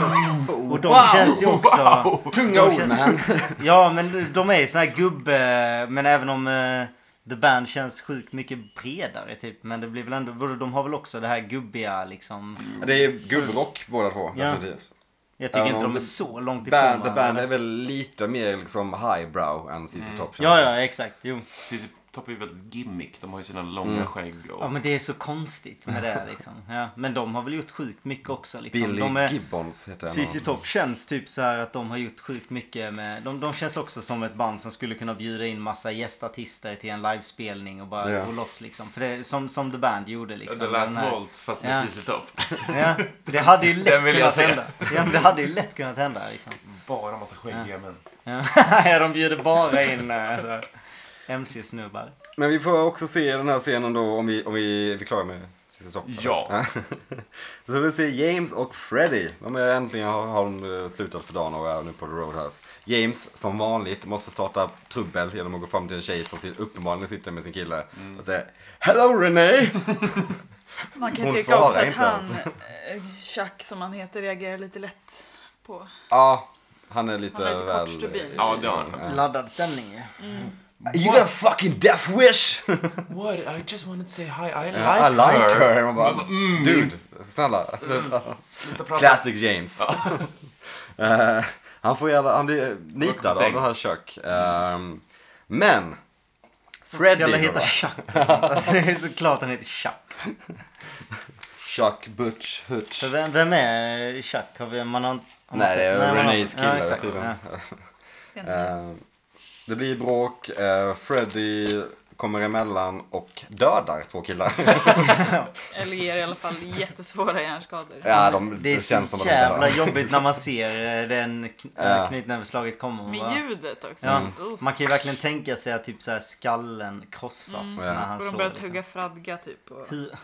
S1: så, och de känns ju också...
S4: Tunga
S1: De
S4: ord
S1: känns-
S4: man.
S1: Ja men de är ju sån här gubbe, men även om eh, The Band känns sjukt mycket bredare typ. Men det blir väl ändå, vadå, de har väl också det här gubbiga liksom.
S4: Det är gubbrock båda två.
S1: Ja.
S4: Definitivt.
S1: Jag tycker
S4: Ja,
S1: inte
S4: om
S1: de är
S4: The
S1: så långt ifrån
S4: Band, the
S1: varandra.
S4: band är väl lite mer liksom highbrow än CC Top. känns
S1: Mm. Ja
S4: det.
S1: ja exakt, jo.
S2: CC Top är ju väldigt gimmick, de har ju sina långa skägg och...
S1: Ja men det är så konstigt med det liksom. Ja, men de har väl gjort sjukt mycket också liksom.
S4: Billy
S1: de är,
S4: Gibbons heter han.
S1: CC Top känns typ så här att de har gjort sjukt mycket med... De, de känns också som ett band som skulle kunna bjuda in massa gästartister till en livespelning och bara
S4: Ja.
S1: gå loss liksom. För det är som, som The Band gjorde liksom.
S2: The
S1: Den
S2: Last
S1: här-
S2: Waltz fast med
S1: Ja.
S2: CC Top.
S1: Ja, det hade ju lätt
S2: Den vill jag
S1: kunnat
S2: se.
S1: hända. Ja, men det hade ju lätt kunnat hända liksom.
S2: bara massa skäggiga män.
S1: Ja, de bjuder bara in eh, alltså, MC-snubbar.
S4: Men vi får också se den här scenen då om vi, om vi, vi är klara med sista stoppet.
S2: Ja.
S4: Så får vi se James och Freddy. De är äntligen har, har de eh, slutat för dagen och är nu på The Roadhouse. James, som vanligt, måste starta trubbel genom att gå fram till en tjej som sit- uppenbarligen sitter med sin kille
S2: Mm.
S4: och säga Hello Renee!
S3: Man kan
S4: Hon
S3: tycka också
S4: svarar
S3: att
S4: inte
S3: han,
S4: ens.
S3: eh, Chuck som han heter, reagerar lite lätt på.
S4: ja, han är lite
S3: Han är lite
S4: väl...
S3: kortstubin.
S2: Ja, det har han.
S1: Laddad stämning ju.
S4: You got a fucking death wish!
S2: What? I just wanted to say hi. I like,
S4: I like
S2: her. Mm.
S4: her! Man bara, dude, snälla. sluta."
S2: Sluta prata.
S4: Classic James. Eh, han, får jävla, han blir nitad av den här kök. Ehm, men, Freddy
S1: Ska
S4: då,
S1: alla heta
S4: va?
S1: Chuck? och sånt? Alltså, det är såklart han heter Chuck.
S4: Chuck Butch Hutch.
S1: För vem, vem är Chuck? Har vi, man har, har man
S4: Nej, det
S1: sett-
S4: är
S1: man har-
S4: Renés kille.
S1: exakt,
S4: tydligen.
S1: ja.
S3: Det är inte det.
S4: Ehm, det blir bråk, eh, Freddy kommer emellan och dödar två killar.
S3: Eller ger i alla fall jättesvåra hjärnskador.
S4: ja, de,
S1: Det
S4: det,
S1: är
S4: känns
S1: så
S4: som att de
S1: jävla
S4: dör.
S1: jobbigt när man ser eh, den kn-
S4: Ja.
S1: eh, knytnävsslaget komma. Man bara-
S3: Med ljudet också.
S1: Ja,
S3: Uff.
S1: Man kan ju verkligen tänka sig att typ så här skallen krossas när
S4: Mm.
S1: han
S3: Och de
S1: slår.
S3: börjar
S1: liksom.
S3: tugga fradga typ. Och...
S1: Hur...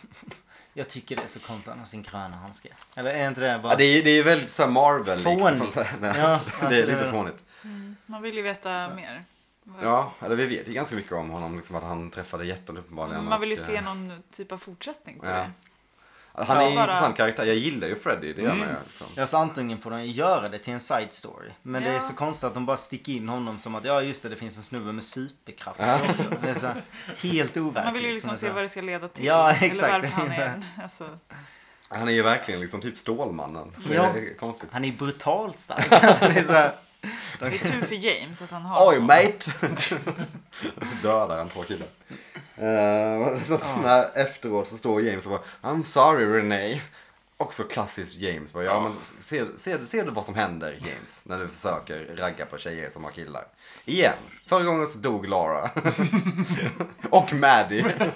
S1: Jag tycker det är så konstigt att han har sin gröna handske. Eller är inte det bara...
S4: Ja, det, är, det är väldigt så här Marvel-likt. på något
S1: Fånigt.
S4: sätt.
S1: Ja, alltså,
S4: det
S1: det
S4: är lite
S1: är-
S4: fånigt.
S3: Man vill ju veta mer.
S4: Ja, eller vi vet ju ganska mycket om honom. Liksom att han träffade jätten uppenbarligen.
S3: Mm, Man vill ju
S4: och,
S3: se
S4: eh,
S3: någon typ av fortsättning på
S4: Ja.
S3: det.
S4: Han är en
S3: Ja. Mm.
S4: intressant karaktär. Jag gillar ju Freddy, det gör man ju. Liksom.
S1: Jag sa antingen på den göra det till en side story. Men det är
S3: Ja.
S1: så konstigt att de bara sticker in honom som att ja just det, det finns en snubbe med superkrafter också. Det är så här, helt overkligt.
S3: Man vill ju
S1: som
S3: liksom
S1: är
S3: se
S1: så här-
S3: vad det ska leda till.
S1: Ja, exakt.
S3: Eller varför han
S1: Det är
S3: är
S1: så
S3: en. Alltså,
S4: Han är ju verkligen liksom typ Stålmannen. Det
S1: Ja.
S4: är konstigt.
S1: Han är brutalt stark. Alltså, det är så här...
S3: det är tur för James att han har
S4: Oj
S3: honom.
S4: mate! Dödar han två killar. Eh, så, så här, efteråt så står James och bara I'm sorry Renee. Också klassiskt James. Bara, ja, men ser, ser, du- ser du vad som händer James när du försöker ragga på tjejer som har killar? Igen, förra gången så dog Lara. och Maddie.
S3: Ja,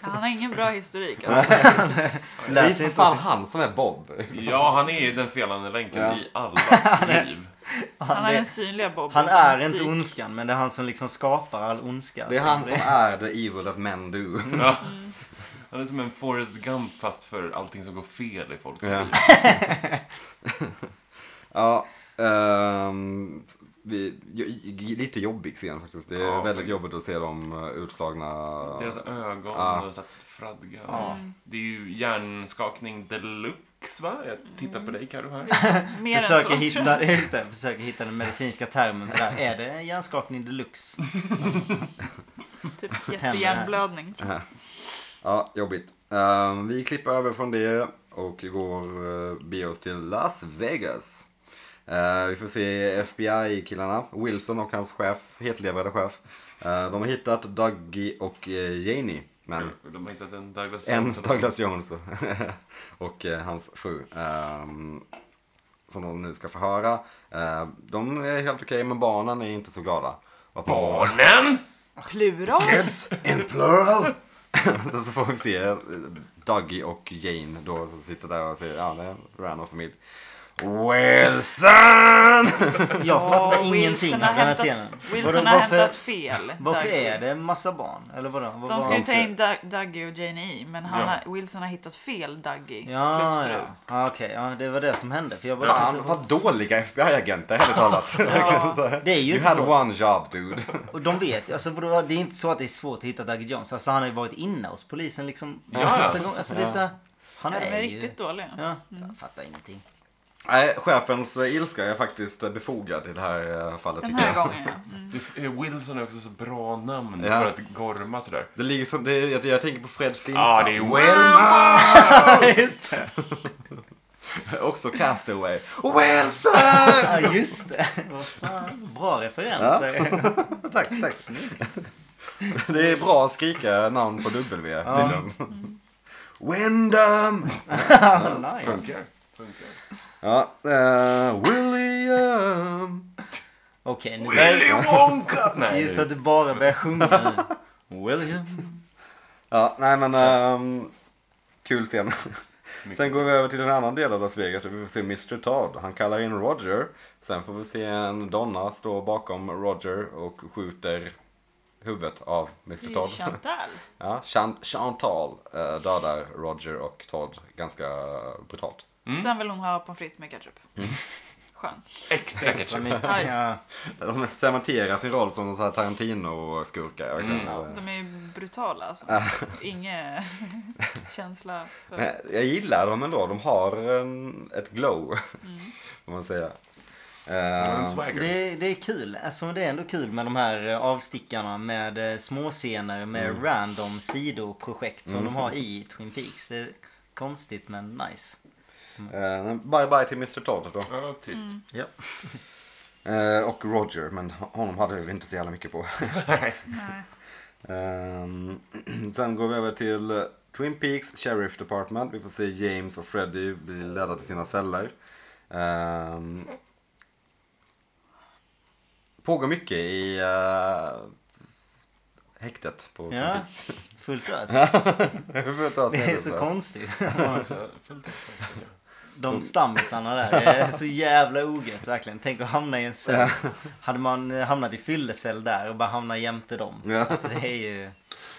S3: Han har ingen bra historik. Alltså.
S4: Det är
S1: Läs
S4: för
S1: inte
S4: fan
S1: fan.
S4: han som är Bob.
S2: Ja, han är ju den felande länken
S4: Ja.
S2: i allas liv.
S3: Han är
S1: det-
S3: den synliga Bob.
S1: Han
S3: utan
S1: är inte
S3: mystik.
S1: ondskan men det är han som liksom skapar all ondska.
S4: Det är han som är the evil that men do.
S1: Mm.
S2: Ja. Han är som en Forrest Gump fast för allting som går fel i folks
S4: Ja.
S2: liv.
S4: Ja, ehm, vi, j- j- lite jobbig scen faktiskt. Det är
S2: Ja,
S4: väldigt
S2: faktiskt.
S4: jobbigt att se dem eh, utslagna.
S2: Deras ögon
S4: Ja.
S2: och så här fradga. Det är ju hjärnskakning deluxe, va? Jag tittar
S1: Mm.
S2: på dig, Carro, här.
S3: Mer än så,
S1: Försöker
S3: tror jag.
S1: hitta, just det, försöker hitta den medicinska termen för det här. Är det hjärnskakning deluxe?
S3: Typ jättehjärnblödning.
S4: Ja, jobbigt. Ehm, vi klipper över från det och går uh, be oss till Las Vegas. Eh, vi får se FBI-killarna, Wilson och hans chef, hetlevrade chef. Eh, de har hittat Dougie och uh, Janie. Men
S2: De har hittat en Douglas
S4: En
S2: Johnson.
S4: Douglas Jones och eh, hans fru. ehm, som de nu ska förhöra. Eh, de är helt okej men barnen är inte så glada. Varpå-
S2: Barnen!
S3: Plural?
S4: Kids in plural! Sen så får vi se eh, Dougie och Jane då som sitter där och säger ja det är en random familj. Wilson!
S1: Jag fattar
S3: Åh,
S1: ingenting av
S3: Wilson
S1: den
S3: har
S1: här
S3: hämtat-
S1: scenen. Vadå,
S3: Wilson har
S1: varför-
S3: hämtat fel.
S1: Varför
S3: Dougie.
S1: är det en massa barn? Eller vadå? Vad
S3: De
S1: var
S3: ska ju
S1: det?
S3: ta in Doug- Dougie och Janie i, men han
S2: Ja.
S3: har, Wilson har hittat fel Dougie plus
S1: Ja,
S3: fru.
S1: ja. ja okej. Ja, det var det som hände. För jag bara
S4: Fan vad dåliga FBI-agenter helt talat. Verkligen så här.
S1: Det är ju
S4: you
S1: inte
S4: had
S1: svårt.
S4: one job dude.
S1: Och de vet ju. Alltså, vadå, det är inte så att det är svårt att hitta Dougie Jones. Alltså, han har ju varit inne hos polisen liksom.
S2: Ja.
S1: massa gånger. Alltså, det är så här, han
S3: Ja,
S1: är,
S3: de är
S1: ju...
S3: riktigt dåliga. Mm.
S1: Ja, jag fattar ingenting.
S4: Nej, chefens eh, ilska är faktiskt eh, befogad i det här eh, fallet
S3: Den
S4: tycker
S3: här
S4: jag.
S3: gången ja. Mm.
S2: Det- eh, Wilson är också så bra namn
S4: Ja.
S2: för att gorma sådär.
S4: Det ligger som, det, jag, jag tänker på Fred Flinta.
S2: Ja, det är
S4: Wilma!
S1: just det.
S4: Också Castaway. Wilson!
S1: Ja, just det. Vad fan. Bra referenser.
S4: tack, tack. Det är bra att skrika namn på W. tydligen. Wyndham!
S1: nice.
S2: Funkar. Funkar.
S4: Ja, eh, William!
S1: Okej, nu
S2: Willy Wonka! Nej,
S1: Just att du bara börjar sjunga nu. William.
S4: Ja, nej men... ehm, kul scen. Sen går vi över till en annan del av Las Vegas. där Vi får se Mr Todd. Han kallar in Roger. Sen får vi se en donna stå bakom Roger och skjuter huvudet av Mr Todd.
S3: Chantal.
S4: Ja, Chan- Chantal eh, dödar Roger och Todd ganska brutalt.
S1: Mm.
S3: Sen vill hon ha pommes frites med ketchup.
S4: Mm.
S3: Skön.
S2: Extra
S1: Så
S2: ketchup.
S1: mycket.
S3: Ja, just det.
S1: Ja.
S4: De cementerar sin roll som så här Tarantino-skurkar. verkligen.
S3: De är ju brutala alltså. Ingen känsla för...
S4: Ah. Nej, jag gillar dem ändå. De har en, ett glow. Får man säga.
S2: En
S4: Eh,
S2: swagger.
S1: Det, det är kul. Alltså, det är ändå kul med de här eh, avstickarna med eh, småscener med random sidoprojekt som de har i Twin Peaks. Det är konstigt men nice.
S4: eh, bye bye till Mr Todd då.
S2: Ja, trist.
S1: Ja.
S4: Eh, och Roger, men honom hade vi inte så jävla mycket på. Ehm, sen går vi över till eh, Twin Peaks Sheriff Department. Vi får se James och Freddy bli ledda till sina celler. Ehm, pågår mycket i uh, häktet på Twin
S1: Ja.
S4: Peaks.
S1: Fullt ös.
S4: För att ta
S1: Det är så
S4: snedblås.
S1: konstigt.
S2: Så, fullt upp.
S4: Mm.
S1: De stammisarna där. Det är så jävla ogött verkligen. Tänk att hamna i en cell. Hade man eh, hamnat i fyllecell där och bara hamna jämte dem.
S4: Ja.
S1: Alltså det är ju...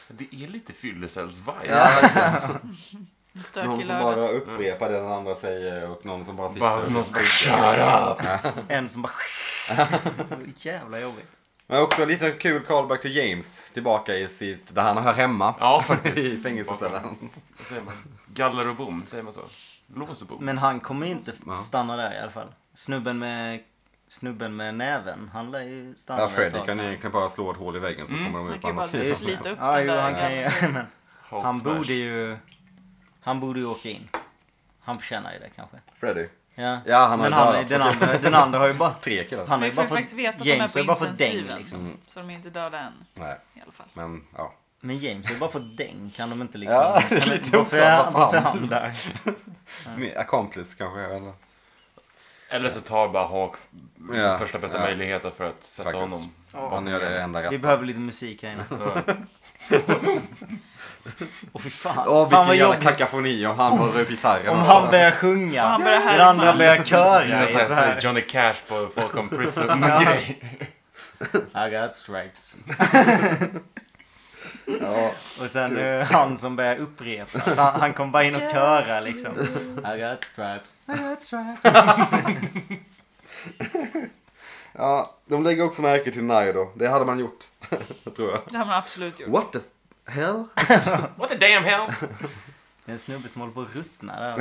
S2: Det är lite fyllecells-vibe.
S3: En
S4: Någon
S3: stökig
S4: som
S3: lördag.
S4: bara upprepar det den andra säger och någon som bara sitter.
S2: Bara någon som bara shut up!
S1: En som bara... Jävla jobbigt.
S4: Men också lite kul callback till James. Tillbaka i sitt, där han hör hemma.
S2: Ja, faktiskt.
S4: I fängelsecellen.
S2: Vad säger man? Galler och bom, säger man så? Lås och bom.
S1: Men han kommer ju inte
S4: Ja.
S1: stanna där i alla fall. Snubben med, snubben med näven, han lär ju stanna
S4: Ja,
S1: där ett
S4: Freddy
S1: tag.
S4: kan ju egentligen bara slå ett hål i väggen så kommer de
S3: Man
S4: ut på
S3: kan ju
S4: andra
S3: bara
S4: sidan.
S3: slita upp
S1: Ja,
S3: den
S1: jo,
S3: där.
S1: han kan ju... Men
S2: Halt
S1: han
S2: smash.
S1: borde ju... Han borde ju åka in. Han förtjänar ju det kanske.
S4: Freddy.
S1: Ja,
S4: Ja, han har
S1: men han,
S4: dödat.
S1: den, andra, den andra har ju bara...
S4: Tre killar.
S1: Han har
S3: Vi
S1: ju
S3: får
S1: bara
S3: ju faktiskt veta
S1: fått...
S3: att de
S1: James har
S3: är
S1: ju
S3: på
S1: bara fått däng
S3: intensiven.
S1: liksom.
S3: Så de är inte döda än.
S4: Nej,
S3: I alla fall.
S4: men ja.
S1: Men James har ju bara fått däng. Kan de inte liksom...
S4: Ja, det är
S1: kan de-
S4: lite
S1: varför
S4: oklart
S1: är-
S4: vad fan.
S1: Varför är han där?
S4: Min Accomplice kanske, eller?
S2: Eller så tar bara Hawk
S4: Ja,
S2: sin första bästa
S4: ja.
S2: möjligheten för att sätta
S4: Faktiskt.
S2: honom
S4: Han gör det enda
S1: Vi
S4: rätt.
S1: behöver lite musik här inne. Åh fy fan. fan vad
S4: Åh, vilken jävla
S1: jobbigt.
S4: kakafoni om han håller upp gitarren.
S1: Om
S4: också.
S1: han börjar sjunga.
S3: Och han börjar
S1: den andra
S3: härma.
S1: börjar köra.
S2: Ja,
S1: i
S2: så här,
S1: så här.
S2: Johnny Cash på Falcon Prison-grej.
S1: I got stripes.
S4: Ja.
S1: Och sen eh, han som börjar upprepa. Så han, han kom bara in och köra liksom. I got stripes. I got stripes.
S4: ja, de lägger också märke till Naido. Det hade man gjort, tror jag.
S3: Det har man absolut gjort.
S4: What the hell?
S2: What the damn hell?
S1: Det är en snubbe som håller på att ruttna där.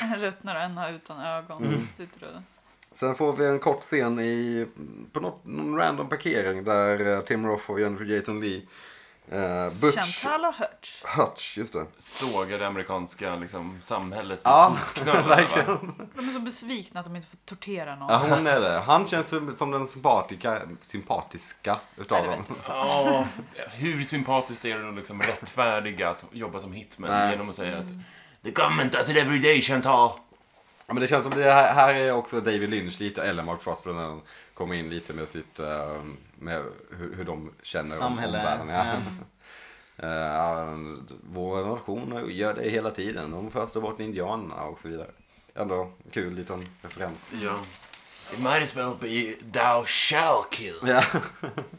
S3: En ruttnar och en har utan ögon.
S1: Mm.
S3: Sitter och...
S4: Sen får vi en kort scen i, på något, någon random parkering där eh, Tim Roth och Jennifer Jason Lee, eh, Butch,
S3: Chantal och Hurts.
S4: Hutch, just det.
S2: Sågar det amerikanska liksom, samhället med
S4: Ja,
S2: fotknölarna, va?
S3: De är så besvikna att de inte får tortera någon.
S4: Ja, hon är det. Han känns som, som den sympatika, sympatiska utav
S3: Nej, det
S4: dem.
S3: vet
S2: Ja, hur sympatiskt är det att liksom rättfärdiga att jobba som hitman
S4: Nej.
S2: genom att säga att The government does it every day, Chantal.
S4: Ja, men det känns som det här, här är också David Lynch lite, eller Mark Frost när han kommer in lite med sitt, eh, med hur, hur de känner
S1: Samhälle,
S4: om omvärlden. Ja. Eh, ja, vår nation gör det hela tiden. De första bort indianerna och så vidare. Ändå kul liten referens.
S2: Ja. It might as well be thou shall kill.
S4: Ja.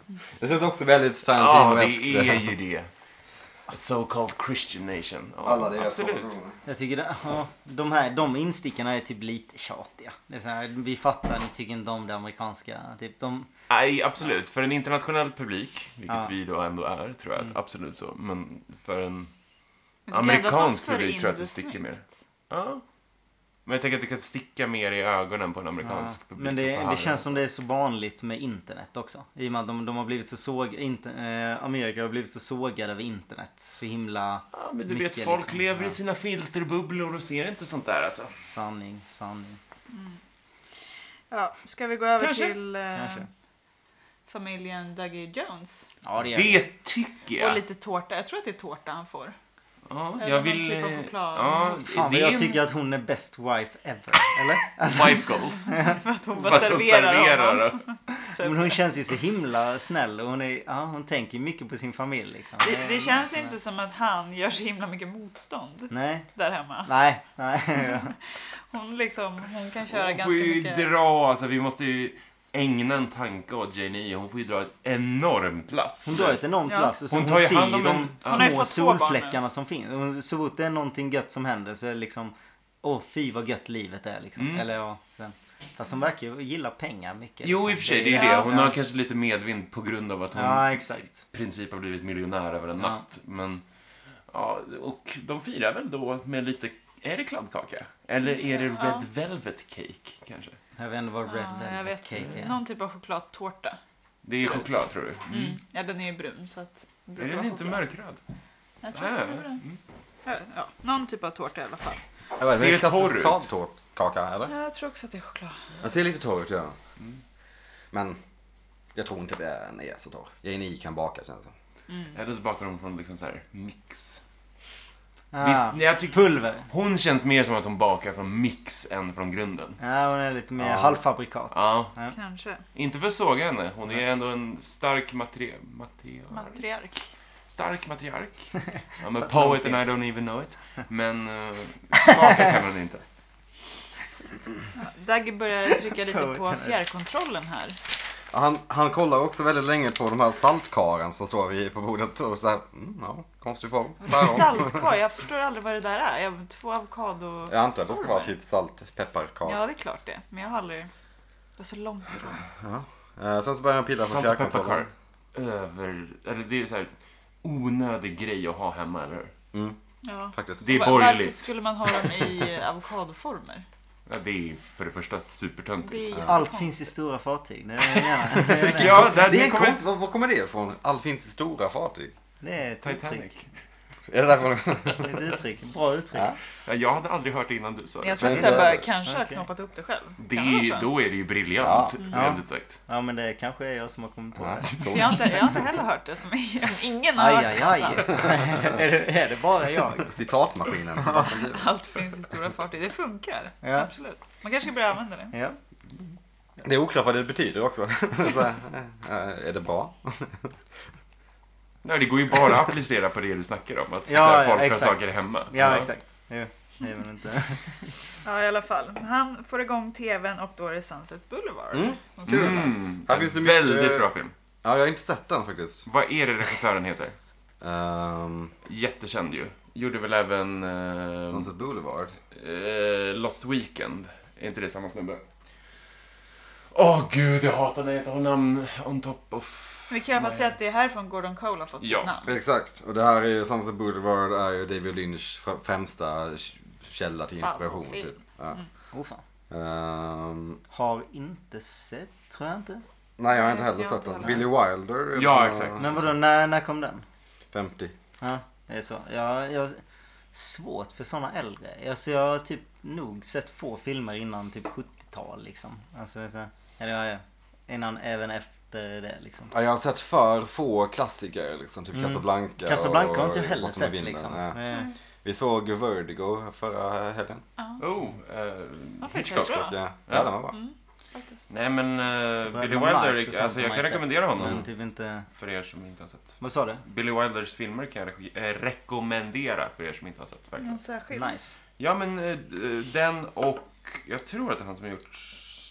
S4: Det känns också väldigt
S2: Ja,
S4: Tarantino-eskt.
S2: det är ju det. A so called Christian nation. Ja,
S4: Alla deras
S2: Absolut.
S4: konversationer.
S1: Jag tycker det, ja, de här de instickarna är typ lite tjatiga. Det är så här, vi fattar, ni tycker inte om det amerikanska. Typ, de,
S2: Nej, absolut. För en internationell publik, vilket
S1: Ja.
S2: vi då ändå är, tror jag. att Absolut så. Men för en...
S3: Men så kan jag ändå
S2: Amerikansk
S3: att de för
S2: publik
S3: in
S2: tror jag att
S3: det
S2: det sticker mer.
S3: snyggt.
S2: Ja. Men jag tänker att det kan sticka mer i ögonen på en amerikansk publik.
S1: Men det,
S2: Fan.
S1: det känns som det är så vanligt med internet också. I och med att de, de har blivit så såg, inte, eh, Amerika har blivit så sågade över internet. Så himla
S2: Ja, men du
S1: mycket
S2: vet, folk
S1: liksom.
S2: lever
S1: Ja,
S2: i sina filterbubblor och ser inte sånt där alltså.
S1: Sanning, sanning.
S3: Ja, ska vi gå över
S2: Kanske.
S3: till eh,
S1: Kanske.
S3: familjen Dougie Jones?
S1: Ja, det gör det.
S2: Det tycker
S3: Och
S2: jag.
S3: lite tårta. Jag tror att det är tårta han får.
S2: Ja,
S3: Eller
S2: jag
S3: någon
S2: vill...
S3: typ av
S2: eh,
S3: choklad.
S2: Ja,
S1: Fan
S2: det
S1: vad
S2: är
S1: jag
S2: en
S1: tycker att hon är best wife ever. Eller? Alltså,
S2: wife goals.
S3: För att hon
S2: För
S3: bara
S2: att hon
S3: serverar honom.
S2: serverar.
S1: Äh, Men
S3: exempel.
S1: hon känns ju så himla snäll och hon, är, ja, hon tänker ju mycket på sin familj liksom.
S3: Det, det känns inte som att han gör så himla mycket motstånd
S1: Nej.
S3: där hemma.
S1: Nej, nej. ja.
S3: Hon, liksom, hon kan köra
S2: Hon får
S3: ganska
S2: ju
S3: mycket.
S2: dra, alltså vi måste ju ägna en tanke åt Janie. Hon får ju dra ett enormt lass.
S1: Hon drar ett enormt
S3: Ja.
S1: lass och så
S2: Hon
S1: hon,
S2: tar ju
S1: ser
S2: hand om
S1: ju de
S2: en-
S3: Hon har ju
S1: små
S3: fått två barn nu.
S1: solfläckarna som finns. Hon, så fort det är någonting gött som händer så är det liksom Åh fy vad gött livet är liksom.
S2: Mm.
S1: Eller ja, sen. Fast hon verkar ju gilla pengar mycket.
S2: Jo,
S1: liksom.
S2: i och för sig, det är ju
S3: Ja.
S2: det. Hon har kanske lite medvind på grund av att hon
S1: Ja, exakt.
S2: i princip har blivit miljonär över en
S1: Ja.
S2: natt. Men, ja, och de firar väl då med lite, är det kladdkaka? Eller är det
S3: Ja.
S2: Red Velvet Cake kanske?
S1: Jag vet inte vad Red
S3: Ja, jag
S1: Velvet
S3: vet
S1: Cake
S3: inte.
S1: är.
S3: Någon typ av chokladtårta.
S2: Det är choklad tror du?
S3: Mm. Ja, den är ju brun så att... det brukar
S2: Är den
S3: vara
S2: inte Äh. Mm.
S3: choklad.
S2: mörkröd?
S3: Jag tror att den är brun. Ja, ja, någon typ av tårta i alla fall.
S4: Jag vet,
S2: Ser
S4: men det är
S2: torr ut.
S4: chokladkaka, eller?
S3: Jag tror också att det är choklad.
S4: Den ser lite torr ut, ja.
S2: Mm.
S4: Men jag tror inte den är så torr. Janie kan baka, känns det som.
S2: Eller så bakar hon från liksom så här mix.
S1: Ah,
S2: Visst, nej, jag tycker
S1: Pulver.
S2: hon känns mer som att hon bakar från mix än från grunden.
S1: Ja, hon är lite mer
S2: Ja.
S1: halvfabrikat.
S2: Ja,
S1: Ja.
S3: Kanske.
S2: inte för att såga henne. Hon är ändå en stark matri... matri...
S3: Matriark.
S2: Stark matriark. I'm a
S1: Satt
S2: poet
S1: långt in.
S2: and I don't even know it. Men uh, smaka kan hon inte.
S3: Ja, Dagge börjar trycka lite
S1: Poet
S3: på
S1: and I.
S3: fjärrkontrollen här.
S4: Han, han kollar också väldigt länge på de här saltkaren som står vid på bordet och så här, mm, ja, konstig form. Päron.
S3: Saltkar, jag förstår aldrig vad det där är. Jag två avokado...
S4: Jag antar att det ska vara typ salt pepparkaka.
S3: Ja, det är klart det. Men jag har aldrig... Det är så långt ifrån.
S4: Eh, sen så börjar han pilla på
S2: Salt och pepparkar.
S4: fjärrkontrollen.
S2: Över... Eller det är så här onödig grej att ha hemma, eller hur?
S3: Ja.
S4: Faktiskt.
S2: Det är
S3: Va-
S2: borgerligt.
S3: Varför skulle man ha dem i avokadoformer?
S2: Ja, det är för det första supertöntigt.
S3: Det är
S1: Allt finns i stora fartyg. Det är, det jag menar.
S2: Ja, där,
S4: Det är en
S2: kommer
S4: konst, var, var kommer det ifrån? Allt finns i stora fartyg.
S1: det är ett
S2: Titanic.
S1: uttryck.
S4: Är det därifrån?
S1: Det är ett uttryck. Bra uttryck.
S4: Ja.
S2: Ja, jag hade aldrig hört det innan du sa det.
S3: Jag tror att
S4: Men-
S3: Sebbe kanske har
S1: Okej.
S3: knoppat upp det själv.
S2: det
S3: Kan vara
S2: är,
S3: så.
S2: då är det ju briljant,
S1: Ja.
S2: rent ut sagt.
S1: Ja, men det kanske är jag som har kommit på
S4: Ja,
S1: det.
S4: cool.
S3: För jag, har inte, jag har inte heller hört det. Som, ingen har
S1: Aj,
S3: hört
S1: aj,
S3: det
S1: aj.
S3: någonstans.
S1: är, det, är det bara jag?
S4: Citatmaskinen. Sebastian Bieber.
S3: Allt finns i stora fartyg. Det funkar.
S1: Ja.
S3: Absolut. Man kanske ska börja använda det.
S1: Ja.
S4: Det är oklart vad det betyder också. så, här, eh, är det bra?
S2: Nej, det går ju bara att applicera på det du snackar om. Att
S1: Ja,
S2: så här,
S1: ja,
S2: folk
S1: exakt.
S2: har saker hemma.
S1: Ja, exakt. Jo, det är väl inte...
S3: Ja, i alla fall. Han får igång tvn och då är det Sunset Boulevard.
S4: Mm.
S3: Som ska rullas.
S2: Mm.
S4: Här finns ju mycket-
S2: Väldigt bra film.
S4: Ja, jag har inte sett den faktiskt.
S2: Vad är det regissören heter?
S4: Um,
S2: Jättekänd ju. Gjorde väl även eh,
S4: Sunset Boulevard.
S2: eh, Lost Weekend. Är inte det samma snubbe? Åh gud, jag hatar när jag inte har namn on top of...
S3: Vi kan i alla fall säga att det är härifrån Gordon Cole har fått
S2: Ja.
S3: sitt namn.
S4: Exakt. Och det här är ju Sunset Boulevard är ju David Lynchs fr- främsta k- källa till inspiration.
S3: Favorit.
S4: Typ. Ja.
S1: Oh, fan.
S4: Ehm,
S1: Har inte sett, tror jag inte.
S4: nej, jag har inte
S3: Nej,
S4: heller
S3: jag
S4: sett
S3: har
S4: den.
S3: inte
S4: Billy Wilder. är liksom väl
S2: Ja,
S4: sån här
S2: exakt.
S1: Men vadå, när, när kom den?
S4: 50.
S1: Ja, det är så. Ja, jag svårt för såna äldre. Alltså, jag har typ nog sett få filmer innan typ 70-tal liksom. Alltså, det är så här, eller ja, ja. Innan, även efter det liksom.
S4: Ja, jag har sett för få klassiker liksom.
S2: Mm.
S4: Typ Casablanca.
S1: Casablanca har
S4: och
S1: inte jag heller
S4: Bortom
S1: sett
S4: vinden.
S1: liksom.
S4: Ja.
S1: Eh,
S4: Vi såg Vertigo förra helgen.
S2: Oh, eh,
S3: Varför är det
S2: Hitchcock.
S3: så bra?
S4: Ja, ja. ja den var bra.
S1: Mm.
S3: Faktiskt.
S2: Nej men eh,
S1: Bröderna
S2: Billy
S1: Marx och
S2: Wilder,
S1: sånt
S2: alltså
S1: har
S2: jag
S1: man
S2: kan
S1: ju sett,
S2: rekommendera honom.
S1: Men typ inte...
S2: För er som inte har sett.
S1: Vad sa du?
S2: Billy Wilders filmer kan jag reko- eh, rekommendera för er som inte har sett. Verkligen.
S3: Någon särskild?
S1: Nice.
S2: Ja men eh, den och jag tror att det är han som har gjort...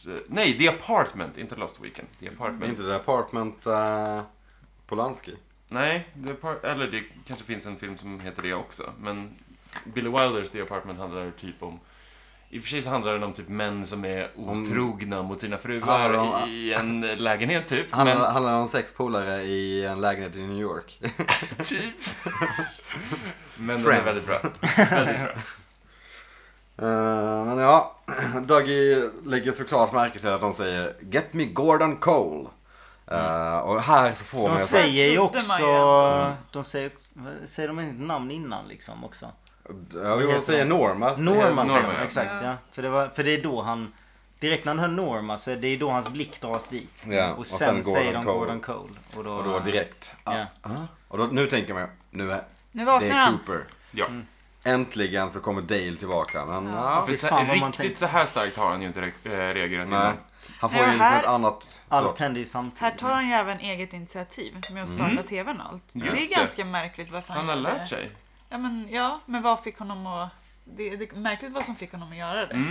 S2: eh, Nej, The Apartment, inte Lost Weekend. The Apartment.
S4: Inte The Apartment eh, Polanski.
S2: Nej, The Apart- eller det kanske finns en film som heter det också. Men Billy Wilders The Apartment handlar typ om... I och för sig så handlar den om typ män som är otrogna mot sina fruar
S4: Handlar om-
S2: i en lägenhet typ.
S4: Han
S2: men
S4: handlar om sex polare i en lägenhet i New York.
S2: typ. men den är väldigt
S4: Friends.
S2: bra. Väldigt bra.
S4: Eh, men ja, Dougie lägger såklart märke till att de säger Get me Gordon Cole. Eh, och här så får
S1: De
S4: man
S1: säger ju
S3: trodde man
S1: också... Mm.
S3: ju.
S1: De säger, säger de inte namn innan liksom också?
S4: Ja, jo, de säger Norma. säger-
S1: Norma säger
S2: Norma,
S1: de,
S2: ja.
S1: exakt ja. För, det var, för det är då han... Direkt när han hör Norma så är det då hans blick dras dit.
S4: Ja,
S1: och, sen säger de Gordon Cole. Och då,
S4: Och då direkt. ah,
S1: Ja.
S4: ah. Och då, nu tänker man, nu är
S3: Nu
S4: det
S3: vaknar
S4: är
S3: han. Mm.
S4: Cooper.
S2: Ja.
S4: Äntligen så kommer Dale tillbaka. Men, ja.
S2: För
S1: Fy
S2: så,
S1: fan vad man
S2: riktigt
S1: tänkte.
S2: så här starkt har han ju inte re- eh, reagerat
S4: Nej.
S2: innan.
S4: Han får
S3: Nej,
S4: ju
S3: och
S4: liksom
S3: här-
S4: ett annat...
S1: Allt händer ju samtidigt.
S3: Här tar han ju även eget initiativ med att starta tvn och allt.
S2: Mm. Just
S3: det
S2: det.
S3: är ganska märkligt varför
S2: Han har
S3: inte-
S2: lärt sig.
S3: Ja men, ja, men vad fick honom att... Det, det är märkligt vad som fick honom att göra det.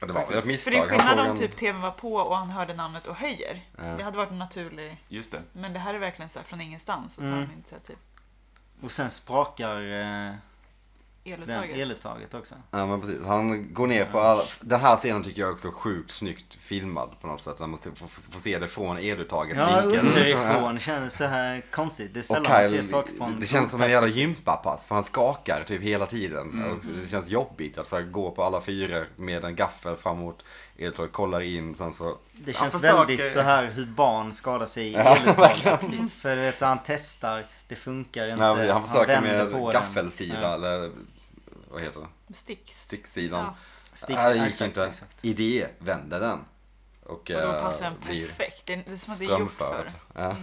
S4: Ja, Det var väl ett
S3: För
S4: misstag.
S3: det är
S4: Han Mm. såg
S3: skillnad om
S4: en-
S3: typ tvn var på och han hörde namnet och höjer. Det hade varit en naturlig...
S2: Just det.
S3: Men det här är verkligen så här från ingenstans så tar
S4: Mm.
S3: han initiativ.
S1: Och sen sprakar eh, den
S3: Eluttaget.
S1: eluttaget också.
S4: Ja men precis. Han går ner på alla... Den här scenen tycker jag är också sjukt snyggt filmad på något sätt. När man ser- får, får se det från eluttagets
S1: Ja,
S4: vinkel.
S1: underifrån känns så här konstigt. Det är
S4: Och
S1: sällan man ser
S4: Kyle,
S1: saker från... Mm.
S4: det känns som en jävla gympapass för han skakar typ hela tiden. Och det känns jobbigt att så här, gå på alla fyra med en gaffel framåt eluttaget, kollar in sen så...
S1: Det
S4: Han
S1: känns
S4: försöker-
S1: väldigt så här hur barn skadar sig i eluttaget. För du vet, så han testar, det funkar inte.
S4: Nej, precis, han försöker
S1: vänder på
S4: med
S1: den.
S4: gaffelsida
S1: Ja.
S4: eller vad heter det?
S3: Sticks.
S4: Stickssidan.
S3: Ja.
S1: Sticks,
S4: Nej, det gick
S1: exakt,
S4: inte.
S1: exakt.
S4: Idé vänder den. Och,
S3: Och då
S4: eh,
S3: passar den
S4: blir-
S3: perfekt. Det är, det är som att det är gjort Mm. för.
S4: Strömförd. Ja.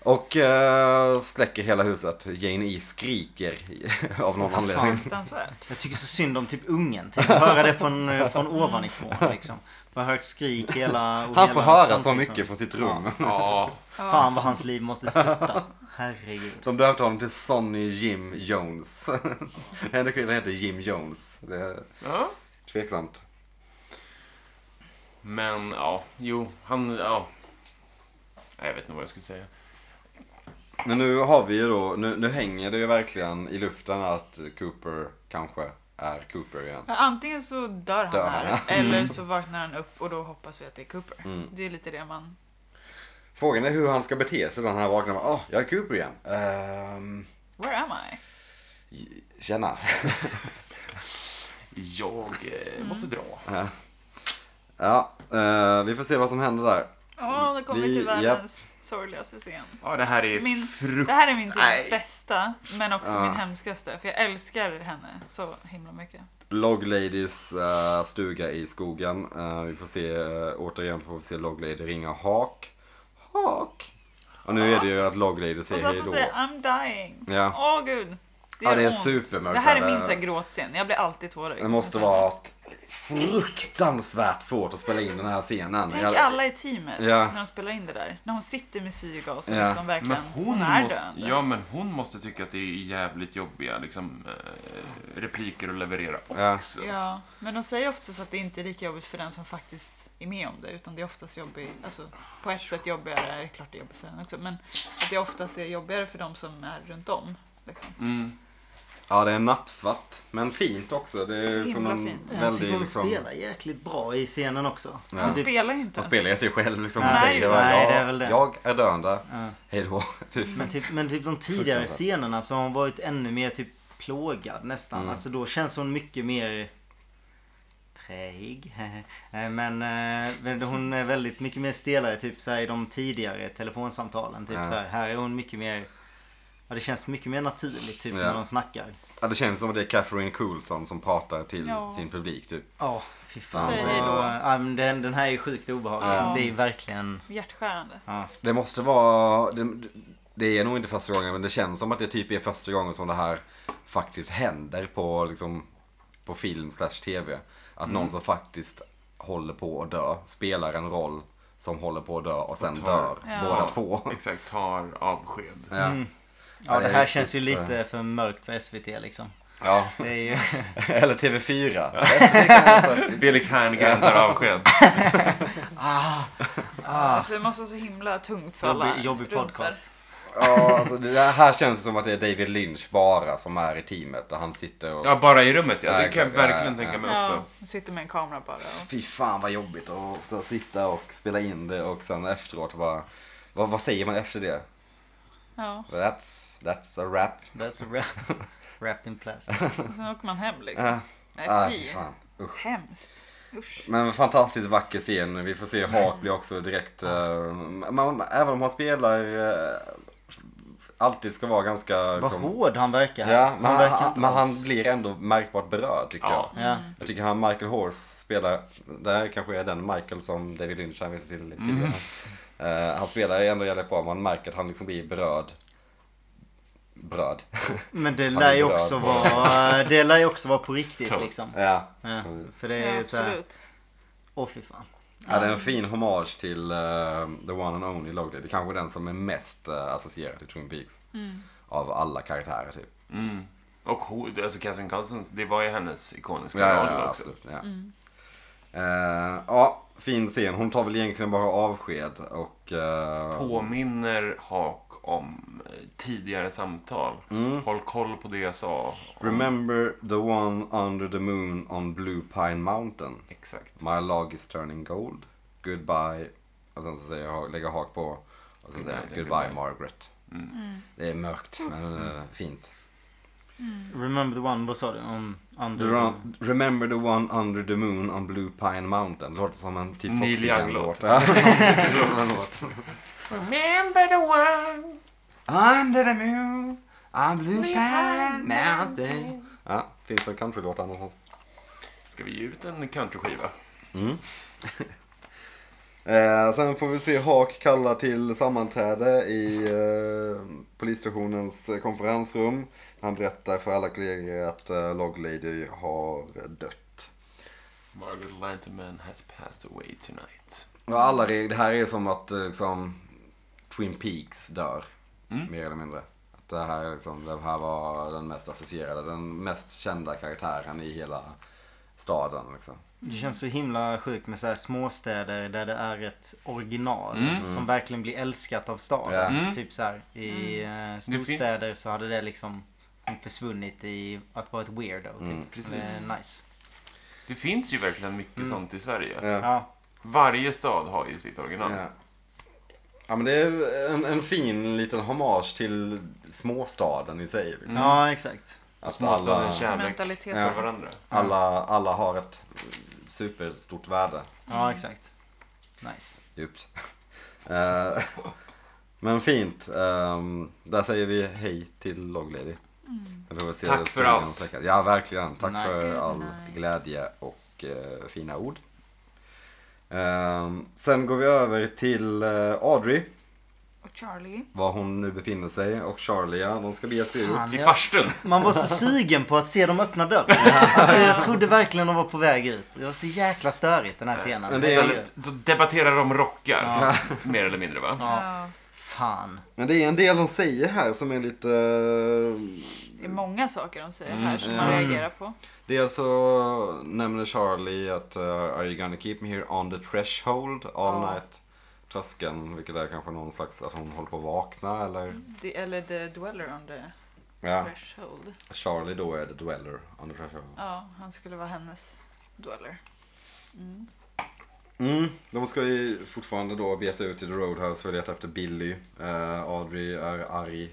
S4: Och eh, släcker hela huset. Jane E skriker av någon anledning.
S3: Fruktansvärt.
S1: Jag tycker så synd om typ ungen. Typ. Höra det från, eh, från ovanifrån liksom. Bara högt skrik hela... och
S4: Han
S1: hela liksom?
S4: får höra så
S1: samtidigt
S4: mycket
S1: som-
S4: från sitt rum.
S2: Ja,
S1: Fan vad hans liv måste sitta. Herregud.
S4: De döpte honom till Sonny Jim Jones. Hennes kvinna heter Jim Jones. Det är
S2: Ja.
S4: tveksamt.
S2: Men ja, jo, han, ja. Nej, jag vet inte vad jag skulle säga.
S4: Men nu har vi ju då, nu, nu hänger det ju verkligen i luften att Cooper kanske är Cooper igen.
S3: Ja, antingen så dör han
S4: Dör han, Mm.
S3: här.
S4: ja.
S3: Eller så vaknar han upp och då hoppas vi att det är Cooper. Det är lite det man...
S4: Frågan är hur han ska bete sig när han vaknar. Åh, jag är Cooper igen. Ehm,
S3: Where am I?
S4: tjena.
S2: Jag eh, måste dra.
S4: Ja, eh, vi får se vad som händer där.
S3: Ja, då kommer vi
S4: Mm. Vi-
S3: till
S4: japp.
S3: världens sorgligaste scen.
S2: Ja, det här är
S3: Min,
S2: frukt...
S3: det här är min
S2: Nej.
S3: typ bästa, men också
S4: Ja.
S3: min hemskaste. För jag älskar henne så himla mycket.
S4: Log Ladies eh, stuga i skogen. Eh, vi får se, eh, återigen får vi se Log Lady ringa Hawk. Hawk! Och nu är det ju att Log Lady
S3: Och
S4: säger
S3: så att
S4: hej
S3: hon
S4: då.
S3: säger I'm dying. Åh
S4: Ja.
S3: gud. Det
S4: Ja,
S3: gör
S4: det är
S3: ont.
S4: supermörkt.
S3: Det här är
S4: där.
S3: min så här gråtscen. Jag blir alltid tårögd.
S4: Det måste vara ett fruktansvärt svårt att spela in den här scenen.
S3: Tänk
S4: Jag-
S3: alla i teamet
S4: Ja.
S3: när de spelar in det där. När hon sitter med syrgas och
S4: Ja.
S3: liksom verkligen,
S2: Men
S3: hon, är
S2: måste,
S3: döende.
S2: ja, men hon måste tycka att det är jävligt jobbiga liksom, eh, repliker att leverera
S4: Ja.
S2: också.
S3: Ja, men de säger oftast att det inte är lika jobbigt för den som faktiskt är med om det. Utan det är oftast jobbigt, alltså på ett sätt jobbigare, det är klart det är jobbigt för den också. Men att det oftast är jobbigare för de som är runt om. Liksom.
S4: Mm. Ja, det är nattsvart. Men fint också. Det är
S3: Så
S4: som
S3: himla
S4: en
S3: fint.
S1: Jag
S4: väldigt
S1: tycker hon
S4: liksom...
S1: spelar jäkligt bra i scenen också. typ-
S4: Ja.
S3: Hon spelar ju inte
S4: Hon
S3: ens.
S4: spelar ju sig själv liksom. Hon
S1: Nej,
S4: säger bara,
S1: nej,
S4: "Ja,
S1: det är väl det."
S4: Jag är döende.
S1: Ja.
S4: Hej då. Typ.
S1: Men typ, men typ de tidigare
S4: Fruktansvärt.
S1: scenerna så har hon varit ännu mer typ plågad nästan.
S4: Mm.
S1: Alltså då känns hon mycket mer träig. Eh, men, eh, men hon är väldigt mycket mer stelare typ så här i de tidigare telefonsamtalen. Typ
S4: Ja.
S1: så här, här är hon mycket mer Ja det känns mycket mer naturligt typ
S4: Ja.
S1: när de snackar.
S4: Ja, det känns som att det är Catherine Coulson som pratar till
S3: Ja.
S4: sin publik typ.
S1: Ja, fy fan.
S4: Alltså-
S3: Säg hej då.
S1: eh, Ja, men den, den här är sjukt obehaglig.
S3: Ja.
S1: Det är verkligen...
S3: Hjärtskärande.
S4: Det måste vara... Det, det är nog inte första gången men det känns som att det typ är första gången som det här faktiskt händer på, liksom, på film slash tv. Att någon som faktiskt håller på att dö spelar en roll som håller på att dö och sen
S2: tar-
S4: dör
S3: Ja.
S4: båda två. liksom.
S2: Exakt, tar avsked.
S4: Ja.
S1: Ja
S4: det
S1: det
S4: är
S1: här
S4: riktigt,
S1: känns ju
S4: eh,
S1: lite för mörkt för SVT liksom.
S4: Ja.
S1: Det är ju...
S4: Eller TV4.
S2: Felix Herngren tar avsked.
S3: Alltså, det måste vara så himla tungt för alla.
S1: Ah. Jobbig, jobbig
S3: runt där.
S1: podcast.
S4: Ja, alltså det här känns det som att det är David Lynch bara som är i teamet där han sitter och...
S2: Ja, bara i rummet ja.
S4: Ja,
S2: Det kan jag
S4: exakt, ja,
S2: verkligen
S4: ja,
S2: tänka
S4: ja.
S2: mig
S3: Ja,
S2: också.
S3: jag sitter med en kamera bara. Och...
S4: Fy fan vad jobbigt att så sitta och spela in det och sen efteråt bara... Vad, vad säger man efter det?
S3: Ja,
S4: That's, that's a wrap.
S1: That's a wrap. Wrapped in plastic.
S3: och sen åker man hem liksom.
S4: Ja. Ah, fy
S3: Nej, fy.
S4: fan. Usch.
S3: Hemskt. Usch.
S4: Men fantastiskt vacker scen. Vi får se Hawk blir också direkt... eh, man, även om han spelar... eh, alltid ska vara ganska...
S1: Vad
S4: Liksom,
S1: hård han verkar.
S4: ja, men,
S1: han verkar
S4: han,
S1: inte
S4: men han
S1: alls-
S4: blir ändå märkbart berörd tycker
S2: Ja.
S4: jag.
S1: Ja.
S4: Jag tycker han Michael Horse spelar, det här kanske är den Michael som David Lynch hänvisade till tidigare.
S1: Mm.
S4: Eh, han spelar ändå jävligt bra, man märker att han liksom blir berörd. Bröd.
S1: Men det
S4: Han
S1: lär
S4: är
S1: ju
S4: berörd
S1: också
S4: på-
S1: vara, det lär ju också vara på riktigt
S2: Toast.
S1: liksom.
S4: ja.
S1: Ja, för det är
S3: Ja,
S1: ju så här,
S3: absolut.
S1: åh fy fan.
S4: Ja, det är en fin hommage till eh, the one and only Log Day. Det är kanske den som är mest eh, associerad till Twin Peaks. Av alla karaktärer typ.
S2: Och hon, alltså Catherine Carlson, det var ju hennes ikoniska
S4: Ja, ja,
S2: roll också.
S4: ja, absolut. Ja. Eh, ja, fin scen. Hon tar väl egentligen bara avsked och... eh,
S2: Påminner Hak om eh, tidigare samtal.
S4: Mm.
S2: Håll koll på det jag sa.
S4: Remember the one under the moon on Blue Pine Mountain.
S2: Exakt.
S4: My log is turning gold. Goodbye. Och sen så säger jag, lägger jag hak på. Och sen säger jag,
S2: Goodbye, Mm. goodbye."
S4: goodbye Margaret. Det är mörkt, men eh, fint.
S1: Remember the one, vad sa du? Om
S4: The
S1: under...
S4: run, remember the one under the moon on Blue Pine Mountain. Det låter som en typ
S2: Neil
S4: Foxy-låt.
S2: Young-låt.
S4: det låter som en låt.
S6: Remember the one.
S4: Under the moon on Blue Pine Mountain. Ja, finns en countrylåt annars.
S2: Ska vi ge ut en countryskiva?
S4: Eh, sen får vi se Hak kalla till sammanträde i eh, polisstationens eh, konferensrum. Han berättar för alla kollegor att eh, Log Lady har dött.
S2: Margaret Lanterman has passed away tonight.
S4: Och alla regler, det här är som att eh, liksom, Twin Peaks dör. Mer eller mindre. Att det, här är liksom, det här var den mest associerade, den mest kända karaktären i hela staden. Liksom.
S1: Det känns så himla sjukt med så här småstäder där det är ett original som verkligen blir älskat av staden.
S4: Mm. Ja. Mm.
S1: Typ så här. I eh, storstäder så hade det liksom försvunnit i att vara ett weirdo. Typ.
S4: Mm,
S2: precis.
S1: Det är nice.
S2: Det finns ju verkligen mycket sånt i Sverige.
S4: Ja.
S1: Ja.
S2: Varje stad har ju sitt original.
S4: Ja. ja men det är en, en fin liten hommage till småstaden i sig. Liksom.
S1: Ja, exakt.
S4: Att alla,
S2: Småstadens kärlek
S3: Mentalitet.
S2: för varandra.
S4: alla, alla har ett superstort värde.
S1: Ja, exakt. Nice.
S4: Djupt. Eh, men fint. ehm, där säger vi hej till Log Lady. Jag får väl se
S2: Tack
S4: det
S2: för
S4: snarare än
S2: allt.
S4: säkert. Ja, verkligen. Tack
S1: Nice.
S4: för all
S3: Nice.
S4: glädje och eh, fina ord. Ehm, sen går vi över till eh, Audrey.
S3: Och Charlie.
S4: var hon nu befinner sig och Charlie, ja, de ska bege sig ut.
S1: Fan,
S2: Till
S1: jag-
S2: farstun!
S1: Man var så sugen på att se dem öppna dörren. Alltså, jag trodde verkligen de var på väg ut. Det var så jäkla störigt den här scenen.
S4: Men det är-
S2: Så debatterar de rockar, mer eller mindre va?
S1: Ja,
S3: Ja.
S1: fan.
S4: Men det är en del hon säger här som är lite... eh,
S3: Det är många saker de säger här som
S4: Mm.
S3: man
S4: Ja.
S3: reagerar på.
S4: Dels så nämner Charlie att eh, Are you gonna keep me here on the threshold all
S3: Ja.
S4: night? Tröskeln, vilket är kanske någon slags att hon håller på att vakna eller...
S3: The, eller The Dweller on the
S4: Ja,
S3: Threshold.
S4: Charlie då är the dweller on the threshold.
S3: Ja, han skulle vara hennes Dweller.
S4: Mm. De ska ju fortfarande då bege sig ut till The Roadhouse för att leta efter Billy. Eh, Audrey är arg.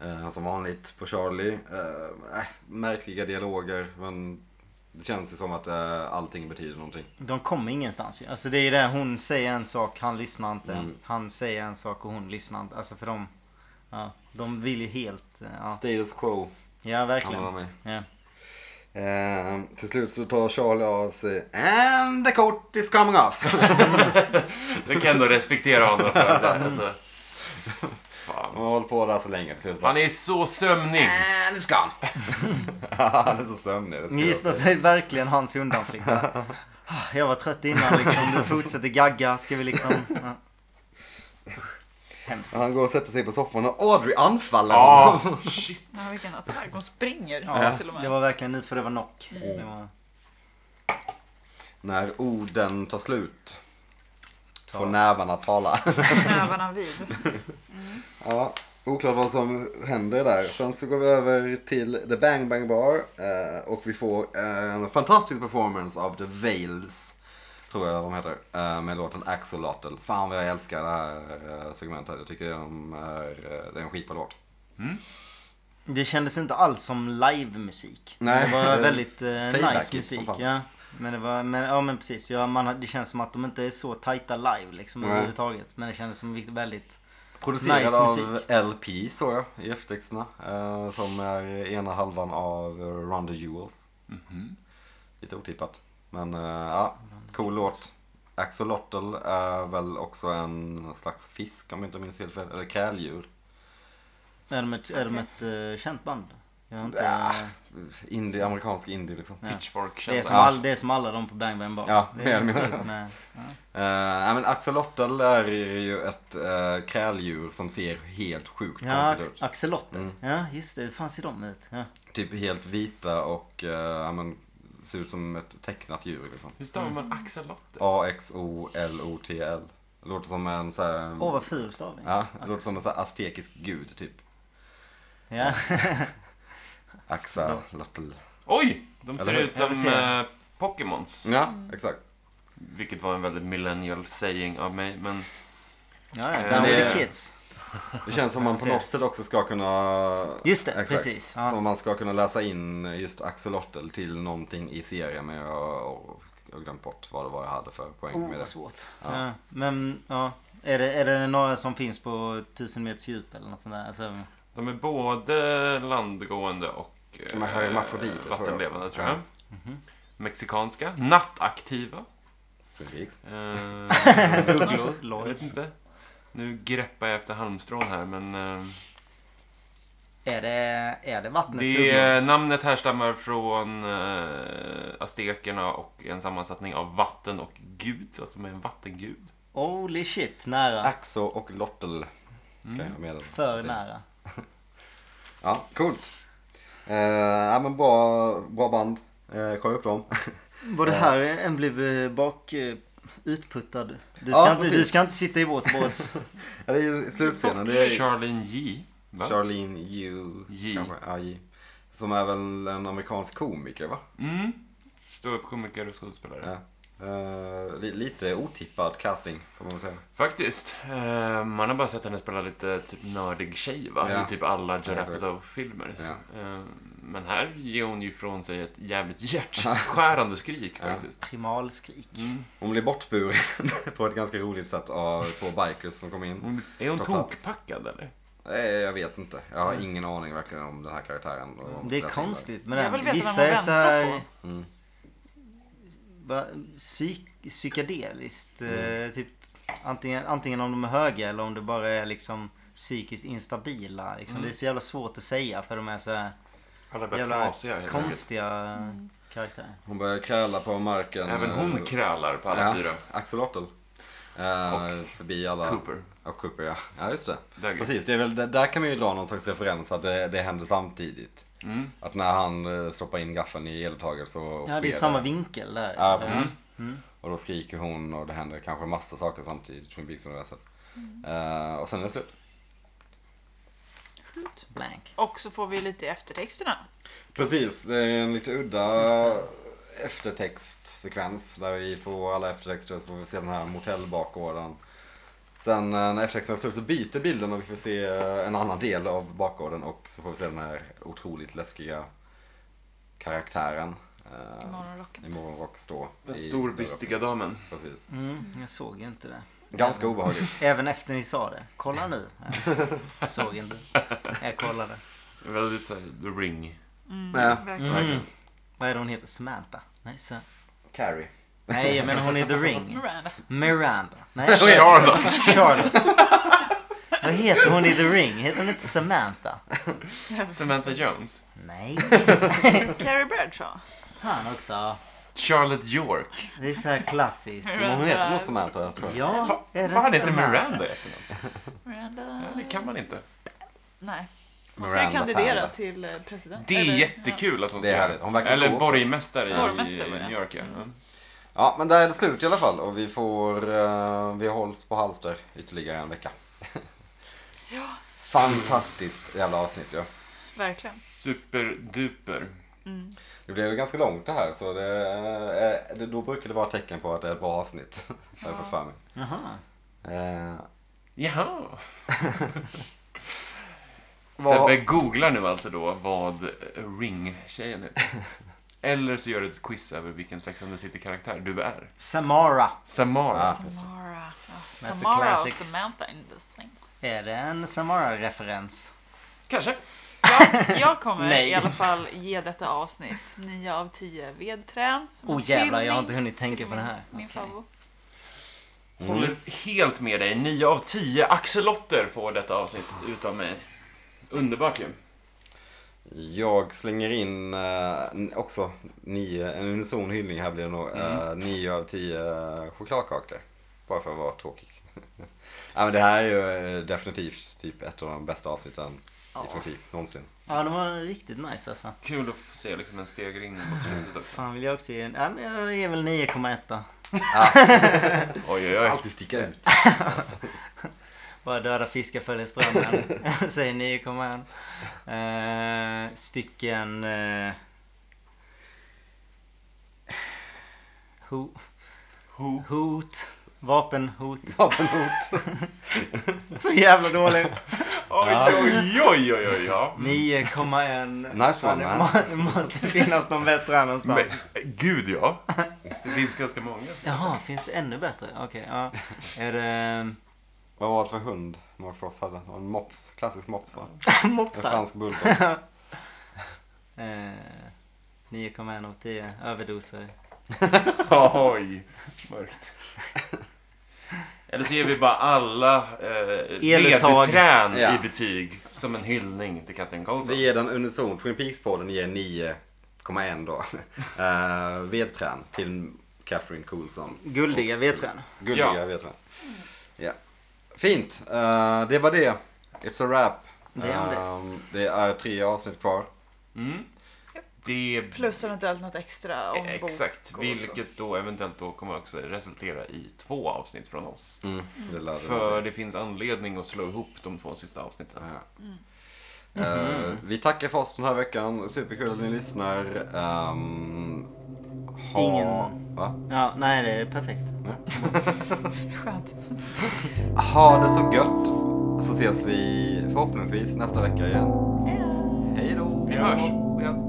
S4: Eh, som vanligt på Charlie. Eh, äh, märkliga dialoger men det känns ju som att eh, allting betyder någonting.
S1: De kommer ingenstans ju. Alltså det är det, hon säger en sak, han lyssnar inte.
S4: Mm.
S1: Han säger en sak och hon lyssnar inte. Alltså för de, ja, de vill ju helt, ja,
S4: Status quo
S1: ja
S4: handlar det om
S1: verkligen. Ja.
S4: mig. Eh, till slut så tar Charlie av sig And the coat is coming off.
S2: Jag kan ändå respektera honom för det. där, Alltså. Fan.
S4: Han har hållit på där så länge. Till slut bara, "Eh,
S2: Han är så sömnig.
S4: And it's gone. Han är så sömnig. Det ska jag
S1: Just
S4: säga.
S1: att det är verkligen hans undanflykt. Ah, Jag var trött innan liksom, du fortsätter gagga. Ska vi liksom... Ja. Hemskt.
S4: Han går och sätter sig på soffan och Audrey anfaller
S2: Ja,
S4: honom.
S2: shit.
S3: Ja, vilken attack. Hon springer till och med.
S1: Det var verkligen nu för det var knock.
S4: Mm.
S1: Det var...
S4: När orden tar slut får nävarna tala.
S3: Nävarna vid.
S4: ja, oklart vad som händer där. Sen så går vi över till The Bang Bang Bar eh, och vi får en fantastisk performance av The Veils. Tror jag de heter. eh, Med låten Axolotl. Fan vad jag älskar det här eh, segmentet. Jag tycker de är, eh, det är en skitbra låt.
S1: Det kändes inte alls som livemusik.
S4: Nej.
S1: Det var väldigt eh,
S4: Playback liksom,
S1: nice
S4: som
S1: musik.
S4: fan.
S1: Ja. Men, det var, men, ja, men precis. Ja, man, det känns som att de inte är så tajta live liksom,
S4: Nej.
S1: överhuvudtaget. Men det kändes som vikt- väldigt...
S4: Producerad
S1: Nice
S4: av
S1: musik.
S4: LP såg jag i eftertexterna. eh, Som är ena halvan av eh, Run the Jewels.
S1: Mhm.
S4: Lite otippat. Men eh, ja, cool låt. Axolotl är väl också en slags fisk om jag inte minns helt fel. Eller kräldjur.
S1: Är de ett, är de ett eh, känt band? Jag har inte...
S4: Indie, amerikansk indie liksom.
S1: Ja.
S2: Pitchfork
S1: Det är,
S2: känns
S1: som
S4: Ja.
S1: all, det är som alla de på Bang Bang Bar.
S4: Ja,
S1: det
S4: mer eller
S1: är
S4: mindre.
S1: sjukt med-
S4: Eh, nej, men axolotl är ju ett uh, kräldjur som ser helt sjukt
S1: Ja,
S4: konstigt ut.
S1: axelotter.
S4: Mm.
S1: Ja, just det. Hur fan ser de ut? Ja.
S4: Typ helt vita och eh, ja, men, ser ut som ett tecknat djur liksom.
S2: Hur stavar man axolotl?
S4: A-X-O-L-O-T-L. Låter som en så här...
S1: Åh, vad ful stavning.
S4: Ja, det låter som en sån här aztekisk gud typ.
S1: Ja.
S4: Axolotl.
S2: Oj! De ser
S4: Eller hur?
S2: ut
S1: Ja, vi
S2: som
S1: ser.
S2: eh, Pokémons.
S4: Ja, exakt.
S2: Vilket var en väldigt millennial saying av mig, men...
S1: Ja, ja.
S2: Eh,
S1: Down with
S4: det-
S1: the kids.
S4: Det känns som man på
S1: ser.
S4: något sätt också ska kunna...
S1: Just det, precis, ja.
S4: Som man ska kunna läsa in just axolotl till någonting i serien men jag jag har glömt bort vad det var jag hade för poäng
S1: Oh,
S4: med
S1: vad
S4: det.
S1: svårt.
S4: Ja.
S1: Ja. Men, ja. Är det, är det några som finns på tusen meters djup eller något sånt där? Alltså,
S2: De är både landgående och eh,
S4: De är hermafroditer, tror jag
S2: vattenlevande,
S4: också.
S2: tror jag. Mexikanska. Nattaktiva.
S4: Precis.
S2: Eh, Ugglor. Jag vet
S1: Lloyds.
S2: inte. Nu greppar jag efter halmstrån här, men... eh,
S1: Är det, är det vattnets
S2: Det, eh,
S1: ugglor?
S2: namnet härstammar från eh, aztekerna och en sammansättning av vatten och gud, så att de är en vattengud.
S1: Holy shit, nära.
S4: Axo och lotl. Kan jag meddela.
S1: Mm. För nära.
S4: Ja, coolt. Eh, ja men bra, bra band. Eh, kolla upp dem.
S1: Var det här en blev eh, bak... eh, Utputtad. Du ska,
S4: Ja,
S1: inte,
S4: precis.
S1: du ska inte sitta i vårt bås.
S4: Ja, det är ju slutscenen. Det är
S2: Charlene J. Va?
S4: Charlene Yu.
S2: J.
S4: kanske. Ja, J. Som är väl en amerikansk komiker va?
S2: mm. Ståuppkomiker och skådespelare.
S4: Ja. Eh, li- lite otippad casting får man väl säga.
S2: Faktiskt. Eh, man har bara sett henne spela lite typ nördig tjej va?
S4: Ja.
S2: I typ alla
S4: Ja, exakt.
S2: Gerapato-filmer.
S4: Ja.
S2: Eh, men här ger hon ju ifrån sig ett jävligt hjärtskärande skrik
S4: Ja.
S2: faktiskt.
S1: Primalskrik.
S4: Hon blir bortburen på ett ganska roligt sätt av två bikers som kom in.
S2: Hon, är hon
S4: Ta plats.
S2: tokpackad eller?
S4: Nej, jag vet inte. Jag har ingen aning verkligen om den här karaktären. och om
S1: Det är
S4: deras
S1: konstigt med
S3: Jag vill
S1: den.
S3: veta
S1: Vissa
S3: vad
S1: är
S3: man
S1: så
S3: väntar
S1: här...
S3: på.
S4: Mm.
S1: Va, psyk, psykedeliskt.
S4: Mm.
S1: Eh, typ, antingen, antingen om de är höga eller om det bara är liksom psykiskt instabila. Liksom.
S4: Mm.
S1: Det är så jävla svårt att säga för de är så här
S2: Alla börjar
S1: jävla
S2: trasiga helt enkelt.
S1: konstiga
S3: Mm.
S1: karaktärer.
S4: inlägg. Hon börjar kräla på marken. Eh,
S2: Även hon krälar på alla
S4: ja,
S2: fyra.
S4: Axolotl. Eh,
S2: Och
S4: förbi alla...
S2: Cooper.
S4: Ja, Cooper ja. Ja, just det.
S2: Dagger.
S4: Precis, det är väl, där- där kan man ju dra någon slags referens att det, det händer samtidigt.
S2: Mm.
S4: Att när han eh, stoppar in gaffeln i eluttaget så...
S1: Ja, det är
S4: sker
S1: samma Mm. vinkel där.
S4: Ja, precis. Och då skriker hon och det händer kanske massa saker samtidigt från Biggs-universet.
S1: Mm.
S4: Eh, och sen är det slut.
S1: Blank.
S3: Och så får vi lite i eftertexterna.
S4: Precis, det är en lite udda eftertextsekvens där vi får alla eftertexter så får vi se den här motellbakgården. Sen eh, när eftertexten är slut så byter bilden och vi får se eh, en annan del av bakgården och så får vi se den här otroligt läskiga karaktären. eh,
S3: I morgonrocken.
S4: I morgonrock stå.
S2: Den
S4: i
S2: storbystiga damen.
S4: Precis.
S1: Mm, jag såg ju inte det.
S4: Ganska obehagligt.
S1: Även efter ni sa det. Kolla nu. Jag såg inte. Jag kollade.
S2: Väldigt såhär, the ring.
S4: Ja,
S3: Verkligen.
S4: verkligen.
S1: Mm. Vad är det hon heter? Samantha? Nej, så.
S4: Carrie.
S1: Nej, jag menar hon är The Ring.
S3: Miranda.
S1: Miranda. Nej,
S2: Charlotte!
S1: Charlotte. Vad heter hon i The Ring? Heter hon inte Samantha?
S2: Samantha Jones.
S1: Nej.
S3: Carrie Bradshaw.
S1: Han också.
S2: Charlotte York.
S1: Det är så här klassiskt.
S4: Men
S3: Mm.
S4: hon heter något som Anton, jag tror.
S1: Ja, är det
S2: Vad
S1: inte
S2: heter
S1: Samantha?
S2: Miranda i efternamn?
S3: Miranda.
S2: Nej, Det kan man inte.
S3: Nej. Hon ska ju
S4: Miranda
S3: kandidera
S4: Panda.
S3: till eh, president.
S2: Det är
S3: Eller,
S2: jättekul att hon
S4: Det är
S2: ska
S4: härligt. Hon verkar cool
S2: Eller
S4: också.
S2: borgmästare i,
S3: Borgmästare,
S2: i
S3: ja.
S2: New York. Ja. Mm.
S4: Ja, men där är det slut i alla fall och vi får, eh, vi hålls på halster ytterligare en vecka.
S3: Ja.
S4: Fantastiskt jävla avsnitt ja.
S3: Ja, verkligen.
S2: Superduper.
S4: Det blev ju ganska långt det här så det, eh, det, då brukar det vara tecken på att det är ett bra avsnitt. Har jag fått för mig.
S1: Jaha.
S4: Eh,
S2: Jaha.
S4: Vad-
S2: Sebbe googlar nu alltså då vad ring-tjejen heter. Eller så gör du ett quiz över vilken Sex and the City-karaktär du är.
S1: Samara.
S2: Samara.
S4: Ja. just det.
S3: Samara.
S1: a
S3: Ja. Samara och
S1: classic.
S3: Samantha in the same.
S1: Är det en Samara-referens?
S2: Kanske.
S3: Jag, jag kommer
S1: Nej.
S3: i alla fall ge detta avsnitt 9 av 10 vedträn. som en
S1: Oh jävlar, jag har inte
S3: hyllning
S1: hunnit tänka
S3: till
S1: på det här.
S3: Min, min
S1: Okej.
S3: favorit.
S4: Mm.
S2: Håller helt med dig. 9 av 10 axelotter får detta avsnitt utav mig. Underbart ju.
S4: Jag slänger in eh, n- också nio, en unison hyllning här blir det nog. Eh, nio av tio eh, chokladkakor. Bara för att vara tråkig. ja, men det här är ju eh, definitivt typ ett av de bästa avsnitten i Twin Peaks någonsin.
S1: Ja, de var riktigt nice alltså.
S2: Kul att få se liksom en stegring mot slutet också.
S1: Fan vill jag också ge en... Ja, men jag ger väl 9,1
S2: Oj, oj, oj.
S4: Alltid sticka ut.
S1: Bara döda fiskar följer strömmen. Jag säger 9,1. Eh, stycken... Eh, ho,
S2: Ho.
S1: hot. Vapenhot.
S4: Ja, men hot.
S1: Så jävla dåligt.
S2: Oj, oj, oj, oj, oj, ja.
S1: 9,1.
S4: Nice
S1: Fan,
S4: one,
S1: det
S4: man.
S1: må- Det måste finnas någon bättre här någonstans.
S2: Men, gud ja. Det finns ganska många.
S1: Jaha, finns det ännu bättre? Okej, ja. Är det... eh,
S4: Vad var det för hund Mark Frost hade? Det var En mops. Klassisk mops va? En
S1: Mopsar?
S4: fransk bulldog.
S1: Eh, 9,1 av 10 överdoser.
S2: Oj, mörkt. Eller så ger vi bara alla eh,
S1: Eluttag.
S2: leduträn
S4: Ja.
S2: i betyg som en hyllning till Katrin Karlsson.
S4: Vi ger den unison. Twin Peaks-podden ger 9,1 då. Uh, vedträn till Catherine Coulson.
S1: Guldiga vedträn.
S4: Gulliga
S2: Ja.
S4: vedträn. Ja. Fint. Eh, det var det. It's a wrap.
S1: Det är det.
S4: Ehm, det är tre avsnitt kvar.
S2: Mm. Det
S3: Plus eventuellt något extra om bok
S2: Exakt,
S3: och så.
S2: vilket då eventuellt då kommer också resultera i två avsnitt från oss.
S4: Mm. Det lär det
S2: För
S4: vara.
S2: det finns anledning att slå ihop de två sista avsnitten.
S4: Ja.
S1: Mm.
S4: Eh,
S2: Mm-hmm.
S4: vi tackar för oss den här veckan. Superkul att ni lyssnar. Ehm, ha...
S1: Ingen-
S4: Va?
S1: Ja, nej det är perfekt.
S3: Skönt.
S4: Ha det så gött. Så ses vi förhoppningsvis nästa vecka igen.
S3: Hej då!
S4: Hej då!
S2: Vi hörs.
S4: Vi hörs.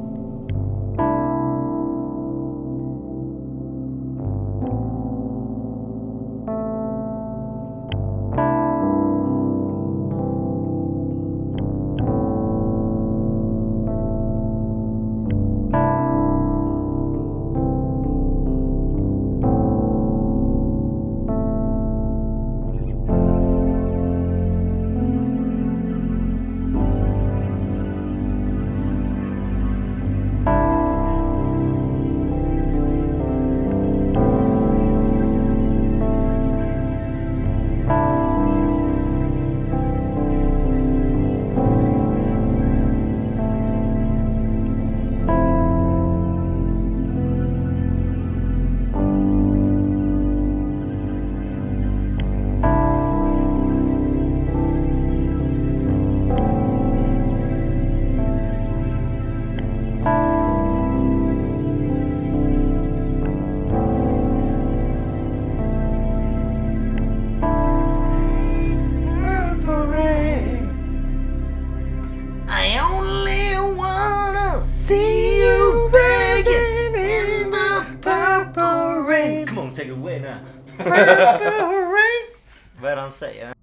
S7: I only wanna see you begging in the purple rain.
S1: Come on, take it away now.
S7: Purple rain.
S1: Vad är det han säger?